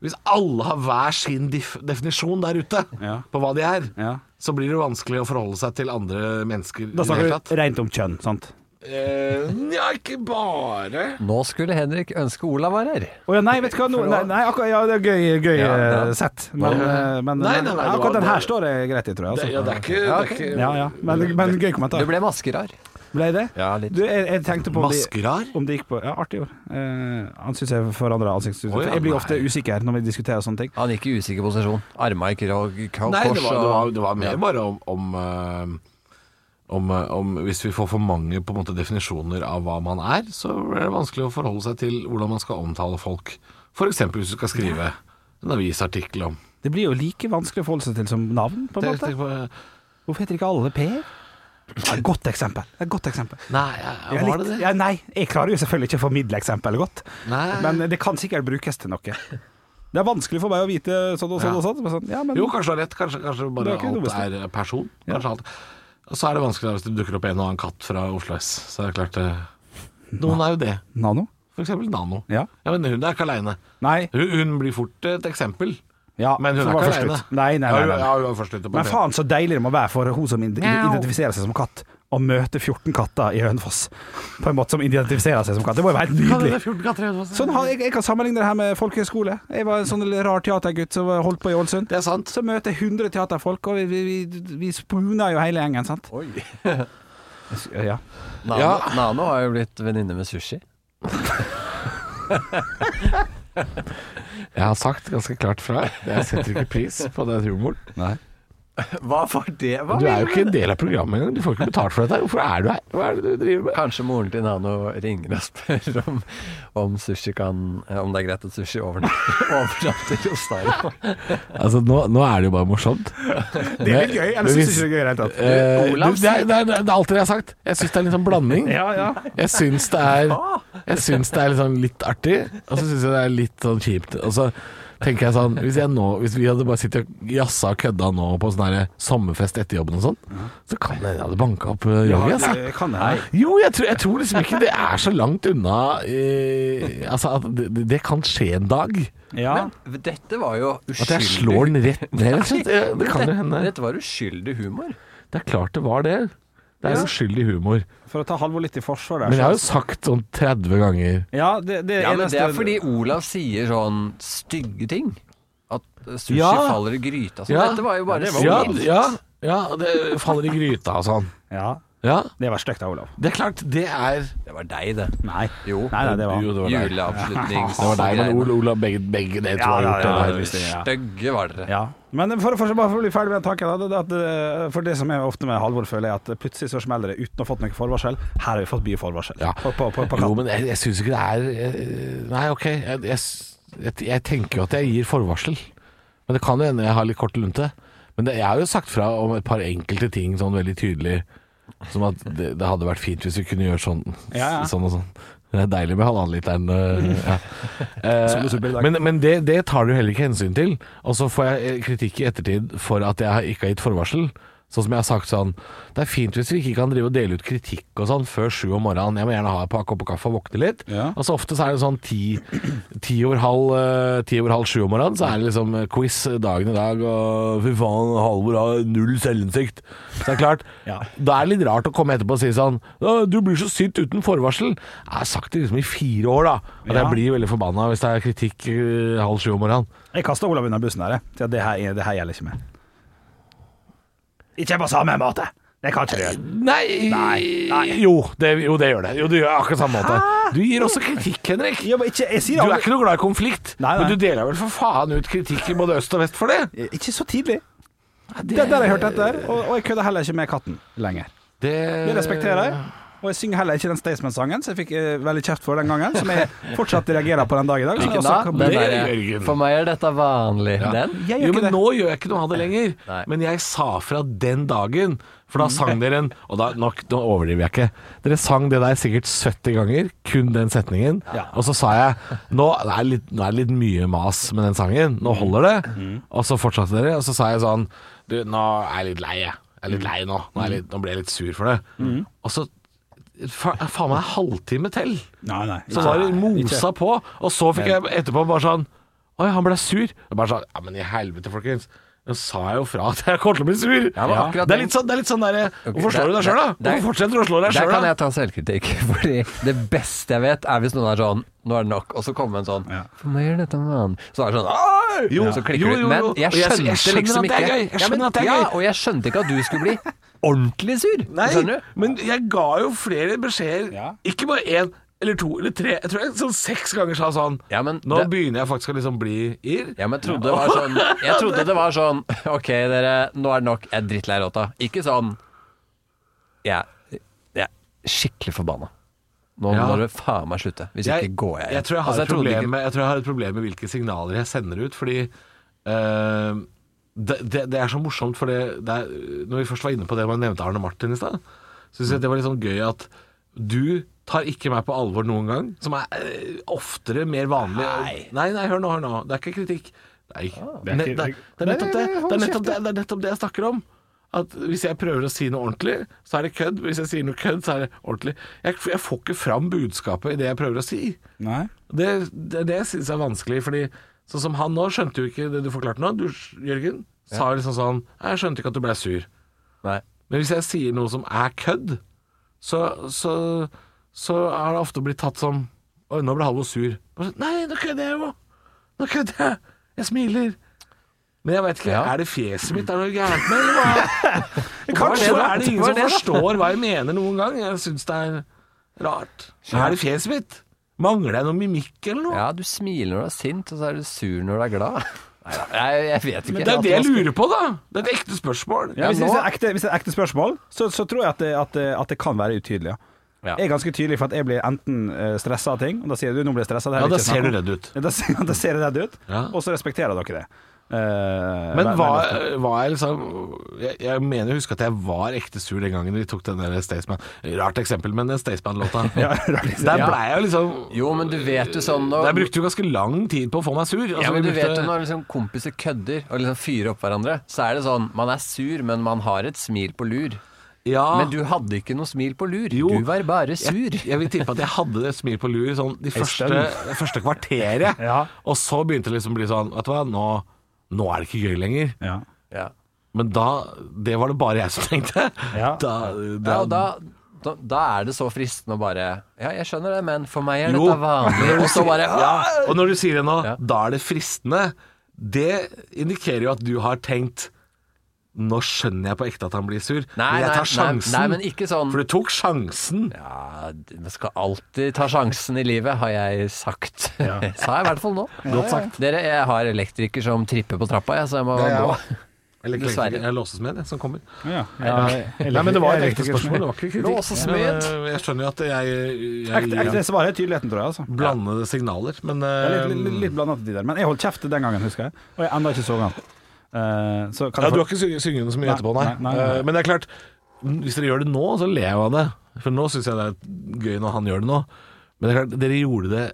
Speaker 3: Hvis alle har hver sin dif definisjon der ute
Speaker 4: Ja.
Speaker 3: på hva de er,
Speaker 4: Ja.
Speaker 3: så blir det jo vanskelig å forholde seg til andre mennesker.
Speaker 4: Da
Speaker 3: i det hele
Speaker 4: snakker
Speaker 3: tatt.
Speaker 4: du rent om kjønn, sant?
Speaker 3: Eh, Nja, ikke bare.
Speaker 5: Nå skulle Henrik ønske Olav var her.
Speaker 4: Å ja, nei, vet du hva nå- Nei, nei akkurat, ja, det er gøy, gøy
Speaker 5: Ja, ja.
Speaker 4: eh, sett. Men, eh, men
Speaker 3: Nei, nei, nei, det var-
Speaker 4: akkurat den her
Speaker 3: det-
Speaker 4: står det greit i, tror jeg.
Speaker 3: Det,
Speaker 4: Altså.
Speaker 3: ja, det er ikke,
Speaker 5: Ja,
Speaker 3: det er
Speaker 5: ok.
Speaker 3: ikke
Speaker 4: Ja, ja. Men, men gøy
Speaker 5: Du
Speaker 4: kommentar.
Speaker 5: ble maskerar.
Speaker 4: Ble det?
Speaker 5: Ja, litt.
Speaker 4: Du, jeg, jeg tenkte på om de,
Speaker 3: Maskerar?
Speaker 4: om de gikk på Ja, artig ord. Eh, han syns jeg forandra ansiktsuttrykk.
Speaker 3: Å ja,
Speaker 4: jeg blir
Speaker 3: nei.
Speaker 4: ofte usikker når vi diskuterer sånne ting.
Speaker 5: Han gikk i usikker posisjon. Arma i krog, kors
Speaker 3: Nei, det var, det var,
Speaker 5: og
Speaker 3: det var mer bare om, om eh, Om, om, hvis vi får for mange på en måte, definisjoner av hva man er, så er det vanskelig å forholde seg til hvordan man skal omtale folk. F.eks. hvis du skal skrive en avisartikkel om
Speaker 4: Det blir jo like vanskelig å forholde seg til som navn, på en
Speaker 3: Tenk-
Speaker 4: måte.
Speaker 3: tenk på-
Speaker 4: Hvorfor heter ikke alle Per? Det er et godt eksempel. Det er et godt eksempel.
Speaker 3: Nei, ja,
Speaker 4: Jeg er
Speaker 3: var
Speaker 4: litt-
Speaker 3: det det?
Speaker 4: Ja, nei, jeg klarer jo selvfølgelig ikke å formidle eksempelet godt,
Speaker 3: Nei.
Speaker 4: men det kan sikkert brukes til noe. Det er vanskelig for meg å vite sånn og sånn og sånn. Men sånn ja, men
Speaker 3: Jo, kanskje du har rett. Kanskje, kanskje
Speaker 4: Det
Speaker 3: bare
Speaker 4: er ikke noe
Speaker 3: alt er person. Kanskje alt. Og så er det vanskeligere hvis det dukker opp en og annen katt fra Oslo S. Så er det klart eh, Noen er jo det.
Speaker 4: Nano?
Speaker 3: For eksempel Nano.
Speaker 4: Ja.
Speaker 3: Ja, men hun er ikke aleine.
Speaker 4: Nei.
Speaker 3: Hun, hun blir fort eh, et eksempel.
Speaker 4: Ja,
Speaker 3: Men hun
Speaker 4: som
Speaker 3: er
Speaker 4: var
Speaker 3: ikke
Speaker 4: først
Speaker 3: alene.
Speaker 4: ut. Nei, nei, nei,
Speaker 3: Ja,
Speaker 4: nei.
Speaker 3: hun- ja, hun var først ute på
Speaker 4: Men
Speaker 3: det.
Speaker 4: faen så deilig det må være for hun som ide-
Speaker 3: Mjau.
Speaker 4: identifiserer seg som katt, å møte 14 katter i Hønefoss. På en måte som identifiserer seg som katt. Det må jo være helt nydelig. Sånn har, jeg, jeg kan sammenligne det her med folkehøyskole. Jeg var en sånn rar teatergutt som holdt på i Ålesund.
Speaker 3: Det er sant.
Speaker 4: Så møter jeg 100 teaterfolk, og vi, vi, vi, vi spooner jo hele gjengen, sant?
Speaker 5: Oi.
Speaker 4: [LAUGHS] Ja.
Speaker 5: Nano, Nano har jo blitt venninne med sushi.
Speaker 3: Jeg har sagt ganske klart fra. Jeg setter ikke pris på den humoren.
Speaker 5: Hva var det? Hva
Speaker 3: Du er
Speaker 5: vil
Speaker 3: jo ikke
Speaker 5: du
Speaker 3: en
Speaker 5: med det?
Speaker 3: del av programmet engang. Du får ikke betalt for dette. Hvorfor er du her? Hva er det du driver med?
Speaker 5: Kanskje moren til Nano ringer og spør om, om, sushi kan, eh, om det er greit at sushi overnatter, [LAUGHS] overnatter hos deg.
Speaker 3: Altså, nå, nå er det jo bare morsomt.
Speaker 4: Det er litt gøy. Eller syns ikke det er gøy i det hele tatt?
Speaker 3: Eh, du, det, er, det, er, det er alt det jeg har sagt. Jeg syns det er litt sånn blanding.
Speaker 4: Ja, ja.
Speaker 3: Jeg syns det er, jeg syns det er litt, sånn litt artig, og så syns jeg det er litt sånn kjipt. Og så tenker jeg sånn Hvis, jeg nå, hvis vi hadde bare sittet og jazza og kødda nå på sånn her sommerfest etter jobben og sånn, så kan jeg jeg hadde banka opp eh, Yogi, altså.
Speaker 4: Jeg Kan det her.
Speaker 3: Jo, jeg tror, jeg tror liksom ikke det er så langt unna eh, Altså, at det, det- det kan skje en dag.
Speaker 4: Ja.
Speaker 5: Men dette var jo uskyldig
Speaker 3: At jeg slår den rett ned, rett og slett. Eh, Det kan jo hende.
Speaker 5: Dette, dette var uskyldig humor.
Speaker 3: Det er klart det var det. Det er uskyldig humor.
Speaker 4: For å ta Halvor litt i forsvar der.
Speaker 3: Men jeg har jo
Speaker 4: så-
Speaker 3: sagt sånn 30 ganger
Speaker 4: ja, det, det,
Speaker 5: Ja, men
Speaker 4: eneste-
Speaker 5: det er fordi Olav sier sånn stygge ting. At eh, sushi
Speaker 3: Ja.
Speaker 5: faller i gryta. Så dette var jo bare
Speaker 3: ja,
Speaker 5: sånn.
Speaker 3: ja, ja, det faller i gryta og sånn.
Speaker 4: Ja,
Speaker 3: Ja,
Speaker 4: det var stygt av Olav.
Speaker 3: det er klart, det er
Speaker 5: Det var deg, det.
Speaker 4: Nei.
Speaker 5: Jo.
Speaker 4: Nei, nei, det var
Speaker 3: Jo, det var deg.
Speaker 5: Juleavslutning.
Speaker 3: Det var deg, men Ole, Ola, begge, begge dere to
Speaker 4: Ja,
Speaker 3: har
Speaker 4: ja,
Speaker 3: gjort
Speaker 4: ja,
Speaker 3: det.
Speaker 4: visst det, ja.
Speaker 5: Stygge var dere.
Speaker 4: Ja. Men for, for, bare for å bli ferdig med den tanken, da, det, er at, eh, for det som er ofte med Halvor, føler jeg at plutselig så smeller det uten å ha fått noe forvarsel. Her har vi fått mye forvarsel.
Speaker 3: Ja.
Speaker 4: På, på, på, på
Speaker 3: Jo,
Speaker 4: katten.
Speaker 3: men jeg, jeg syns ikke det er eh, Nei, ok. Jeg, jeg, jeg, jeg tenker jo at jeg gir forvarsel. Men det kan jo hende jeg har litt kort lunte. Men det, jeg har jo sagt fra om et par enkelte ting sånn veldig tydelig. Som at det, det hadde vært fint hvis vi kunne gjøre sånn,
Speaker 4: Ja, ja.
Speaker 3: sånn og sånn. Det er deilig med halvannenliteren. eh, Ja.
Speaker 4: Som du supper i dag.
Speaker 3: Men, men det, det tar du heller ikke hensyn til. Og så får jeg eh, kritikk i ettertid for at jeg har- ikke har gitt forvarsel. Sånn som jeg har sagt sånn Det er fint hvis vi ikke kan drive og dele ut kritikk og sånn før sju om morgenen. Jeg må gjerne ha et par kopper kaffe og våkne litt.
Speaker 4: Ja.
Speaker 3: Og så ofte så er det sånn ti, ti over halv eh, Ti over halv sju om morgenen, så er det liksom eh, quiz dagen i dag, og fy faen, Halvor har null selvinnsikt. Så det er klart,
Speaker 4: Ja.
Speaker 3: da er det litt rart å komme etterpå og si sånn «Å, Du blir så sint uten forvarsel. Jeg har sagt det liksom i fire år, da. Og
Speaker 4: Ja.
Speaker 3: jeg blir veldig forbanna hvis det er kritikk eh, halv sju om morgenen.
Speaker 4: Jeg kasta Olav under bussen her. jeg. Så det her, det her gjelder ikke meg. Ikke på samme måte! Det kan ikke du gjøre.
Speaker 3: Nei,
Speaker 4: Nei, nei.
Speaker 3: Jo, det, jo, det gjør det. Jo, du gjør akkurat samme måte. Du gir også kritikk, Henrik.
Speaker 4: Ja, men ikke, jeg
Speaker 3: Du
Speaker 4: sier
Speaker 3: er
Speaker 4: aldri-
Speaker 3: ikke noe glad i konflikt,
Speaker 4: Nei, nei.
Speaker 3: men du deler vel for faen ut kritikk i både øst og vest for det?
Speaker 4: Ikke så tidlig. Det er der jeg hørte etter, og, og jeg kødder heller ikke med katten lenger.
Speaker 3: Det,
Speaker 4: Det respekterer jeg. Og jeg synger heller ikke den Staysman-sangen, som jeg fikk eh, veldig kjeft for den gangen. Som jeg fortsatt reagerer på den dag i dag. som jeg
Speaker 5: Hvilken
Speaker 4: også
Speaker 5: da?
Speaker 4: kan-
Speaker 5: Den
Speaker 3: Det er
Speaker 5: der-
Speaker 3: Jørgen.
Speaker 5: For meg er dette vanlig. Den?
Speaker 4: Jeg
Speaker 3: jo, men
Speaker 4: gjør ikke det.
Speaker 3: Nå gjør jeg ikke noe av det lenger,
Speaker 5: Nei.
Speaker 3: men jeg sa fra den dagen. For
Speaker 4: Mm.
Speaker 3: da sang dere en Og da, nok, nå overdriver jeg ikke. Dere sang det der sikkert 70 ganger, kun den setningen. Og så sa jeg nå er, det litt, nå er det litt mye mas med den sangen,
Speaker 4: Mm.
Speaker 3: nå holder det. Og så fortsatte dere, og så sa jeg sånn Du, nå er jeg litt lei, jeg. Jeg er
Speaker 4: Mm.
Speaker 3: litt lei nå. Nå, er jeg litt, nå ble jeg litt sur for det. Og så fa, faen meg halvtime til.
Speaker 4: Nei, nei.
Speaker 3: Så
Speaker 4: ikke-
Speaker 3: var det mosa
Speaker 4: ikke.
Speaker 3: på, og så fikk jeg etterpå bare sånn Oi, han ble sur. Jeg bare sånn Ja, men i helvete, folkens. Nå sa jeg jo fra at jeg kommer til å bli sur.
Speaker 5: men
Speaker 3: Ja.
Speaker 5: akkurat
Speaker 3: Det er
Speaker 5: den-
Speaker 3: litt sånn, det er litt sånn derre Hvorfor slår
Speaker 5: der-
Speaker 3: du deg sjøl, da?
Speaker 5: der-
Speaker 3: Hvorfor fortsetter du å slå deg
Speaker 5: Der
Speaker 3: sjøl,
Speaker 5: kan
Speaker 3: da?
Speaker 5: jeg ta selvkritikk, [LAUGHS] fordi det beste jeg vet er hvis noen er sånn Nå er det nok, og så kommer en sånn For meg er dette vanlig. Så er det sånn «Ai!»
Speaker 3: Jo,
Speaker 5: Så klikker
Speaker 3: jo,
Speaker 5: du.
Speaker 3: jo,
Speaker 5: Men
Speaker 3: jo.
Speaker 5: jeg
Speaker 3: Og jeg- jeg
Speaker 5: skjønte
Speaker 3: skjønner
Speaker 5: liksom
Speaker 3: at det er
Speaker 5: ikke
Speaker 3: gøy. Jeg
Speaker 5: Ja, men-
Speaker 3: skjønner at det er
Speaker 5: Ja,
Speaker 3: gøy.
Speaker 5: og jeg skjønte ikke at du skulle bli ordentlig sur. Skjønner du?
Speaker 3: men jeg ga jo flere beskjeder.
Speaker 4: Ja.
Speaker 3: Ikke bare én eller to eller tre. Jeg tror jeg sånn seks ganger sa sånn
Speaker 5: Ja, men
Speaker 3: Nå
Speaker 5: det-
Speaker 3: begynner jeg faktisk å liksom bli irr.
Speaker 5: Ja, men jeg trodde det var sånn Jeg trodde det var sånn Ok, dere, nå er det nok. Jeg er drittlei rotta. Ikke sånn Jeg, jeg er skikkelig forbanna. Nå
Speaker 3: Ja.
Speaker 5: må dere faen meg slutte. Hvis ikke går jeg
Speaker 3: Jeg tror jeg, har
Speaker 5: Altså,
Speaker 3: et
Speaker 5: trodde
Speaker 3: problem
Speaker 5: ikke-
Speaker 3: med, jeg tror jeg har et problem med hvilke signaler jeg sender ut, fordi eh, det, det, det er så morsomt, for det, det er, når vi først var inne på det man nevnte Arne Martin i stad,
Speaker 13: Mm.
Speaker 3: så syns jeg det var litt sånn gøy at du tar ikke meg på alvor noen gang, som er eh, oftere mer vanlig. Nei. nei, hør nå, hør nå. Det er ikke kritikk. Nei.
Speaker 13: Ah, Det er
Speaker 3: Ne-
Speaker 13: ikke-
Speaker 3: det, det er nettopp det. Det er nettopp det, det, er nettopp det jeg snakker om. At hvis jeg prøver å si noe ordentlig, så er det kødd. Hvis jeg sier noe kødd, så er det ordentlig. Jeg, jeg får ikke fram budskapet i det jeg prøver å si.
Speaker 4: Nei.
Speaker 3: Det, det, det syns jeg er vanskelig, fordi sånn som han nå, skjønte jo ikke det du forklarte nå. Du, Jørgen, sa liksom sånn Jeg skjønte ikke at du ble sur. Men hvis jeg sier noe som er kødd, så, så, så er det ofte blitt tatt som Oi, nå ble Halvor sur. Og så, Nei, nå kødder jeg jo! Nå kødder jeg! Jeg smiler. Men jeg veit ikke. Er det fjeset mitt det er noe gærent med, eller hva?
Speaker 4: [LAUGHS] Kanskje.
Speaker 3: Hvorfor er det ingen
Speaker 4: Hva er
Speaker 3: som
Speaker 4: det da?
Speaker 3: forstår hva jeg mener noen gang? Jeg syns det er rart. Er det fjeset mitt? Mangler jeg noe mimikk eller noe?
Speaker 5: Ja, du smiler når du er sint, og så er du sur når du er glad. Nei, jeg, jeg vet ikke.
Speaker 3: Men det er det jeg lurer på, da! Det er et ekte spørsmål.
Speaker 4: Ja, hvis, hvis, det er ekte, hvis det er ekte spørsmål, så, så tror jeg at det, at, det, at det kan være utydelig. Ja.
Speaker 5: Ja.
Speaker 4: Jeg er ganske tydelig for at jeg blir enten stressa av ting, og da sier du nå blir jeg stressa.
Speaker 3: Ja, da ser du redd ut.
Speaker 4: Ja, da, ser- [LAUGHS] da ser jeg redd ut,
Speaker 3: Ja.
Speaker 4: og så respekterer dere det. Eh,
Speaker 3: Men var, var jeg liksom jeg, jeg mener jeg husker at jeg var ekte sur den gangen vi tok den der Staysman Rart eksempel, men den Staysman-låta.
Speaker 5: [LAUGHS]
Speaker 4: Ja, rart eksempel.
Speaker 3: der blei jeg jo liksom
Speaker 5: Jo, men du vet jo sånn når-
Speaker 3: Der brukte du ganske lang tid på å få meg sur. Altså,
Speaker 5: ja, men
Speaker 3: vi
Speaker 5: du
Speaker 3: brukte-
Speaker 5: vet jo når liksom kompiser kødder og liksom fyrer opp hverandre, så er det sånn man er sur, men man har et smil på lur.
Speaker 3: Ja.
Speaker 5: Men du hadde ikke noe smil på lur. Du var bare sur.
Speaker 3: Jeg, jeg vil tippe at jeg hadde det smil på lur sånn de
Speaker 5: En
Speaker 3: første,
Speaker 5: stund.
Speaker 3: det første kvarteret.
Speaker 5: [LAUGHS] Ja.
Speaker 3: Og så begynte det liksom å bli sånn Vet du hva, nå, nå er det ikke gøy lenger.
Speaker 5: Ja.
Speaker 3: Men da Det var det bare jeg som tenkte. Da, da,
Speaker 5: Ja, og da, da, da er det så fristende å bare Ja, jeg skjønner det, men for meg er
Speaker 3: Jo.
Speaker 5: dette vanlig. Og så
Speaker 3: [LAUGHS]
Speaker 5: bare
Speaker 3: ja. Og når du sier det nå, da er det fristende. Det indikerer jo at du har tenkt Nå skjønner jeg på ekte at han blir sur, men jeg
Speaker 5: nei,
Speaker 3: tar sjansen.
Speaker 5: Nei, nei, men ikke sånn
Speaker 3: For du tok sjansen.
Speaker 5: Ja, man skal alltid ta sjansen i livet, har jeg sagt. [LAUGHS] Sa jeg i hvert fall nå.
Speaker 3: Ja, Godt ja, ja. sagt.
Speaker 5: Dere, jeg har elektriker som tripper på trappa, jeg, så jeg må
Speaker 3: Det er jeg
Speaker 5: gå.
Speaker 3: også. Eller
Speaker 5: Dessverre.
Speaker 3: klekking. Jeg låses med, det som kommer.
Speaker 4: Ja.
Speaker 5: Ja,
Speaker 3: Nei, men det var et ekte
Speaker 4: elektriker-
Speaker 3: spørsmål. Det var ikke kritikk.
Speaker 5: Låses med.
Speaker 3: Men, øh, Jeg skjønner jo at jeg, jeg
Speaker 4: Ekte, ekte svar er tydeligheten, tror jeg. Altså.
Speaker 3: Blandede signaler, men
Speaker 4: Jeg er
Speaker 3: øh,
Speaker 4: Litt, litt, litt blandet til tider. Men jeg holdt kjeft den gangen, husker jeg. Og jeg ennå ikke så han. Eh, så kan
Speaker 3: Ja,
Speaker 4: jeg få-
Speaker 3: du har ikke sunget sunget den så mye
Speaker 4: Nei,
Speaker 3: etterpå, nei.
Speaker 4: nei, nei, nei.
Speaker 3: Eh, Men det er klart, mm, hvis dere gjør det nå, så ler jeg av det. For nå syns jeg det er gøy når han gjør det nå. Men det er klart, dere gjorde det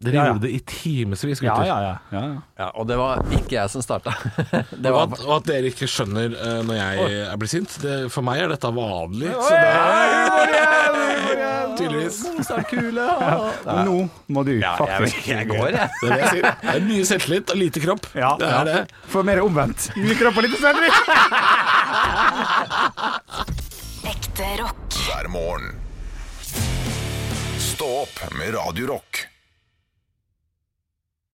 Speaker 3: Dere
Speaker 5: Ja, ja.
Speaker 3: gjorde det i timevis, gutter.
Speaker 5: Ja, og det var ikke jeg som starta. [LAUGHS] Det
Speaker 3: Og
Speaker 5: var
Speaker 3: at, og at dere ikke skjønner eh, når jeg eh, blir sint. Det, for meg er dette vanlig. Så det er tydeligvis.
Speaker 4: Men Nå må du faktisk
Speaker 3: jeg går, jeg. Det er det jeg sier. Det er mye selvtillit og lite kropp. det er det.
Speaker 4: For mer omvendt. Mye kropp og lite selvtillit.
Speaker 2: Ekte rock.
Speaker 1: hver morgen. Stå opp med Radio Rock.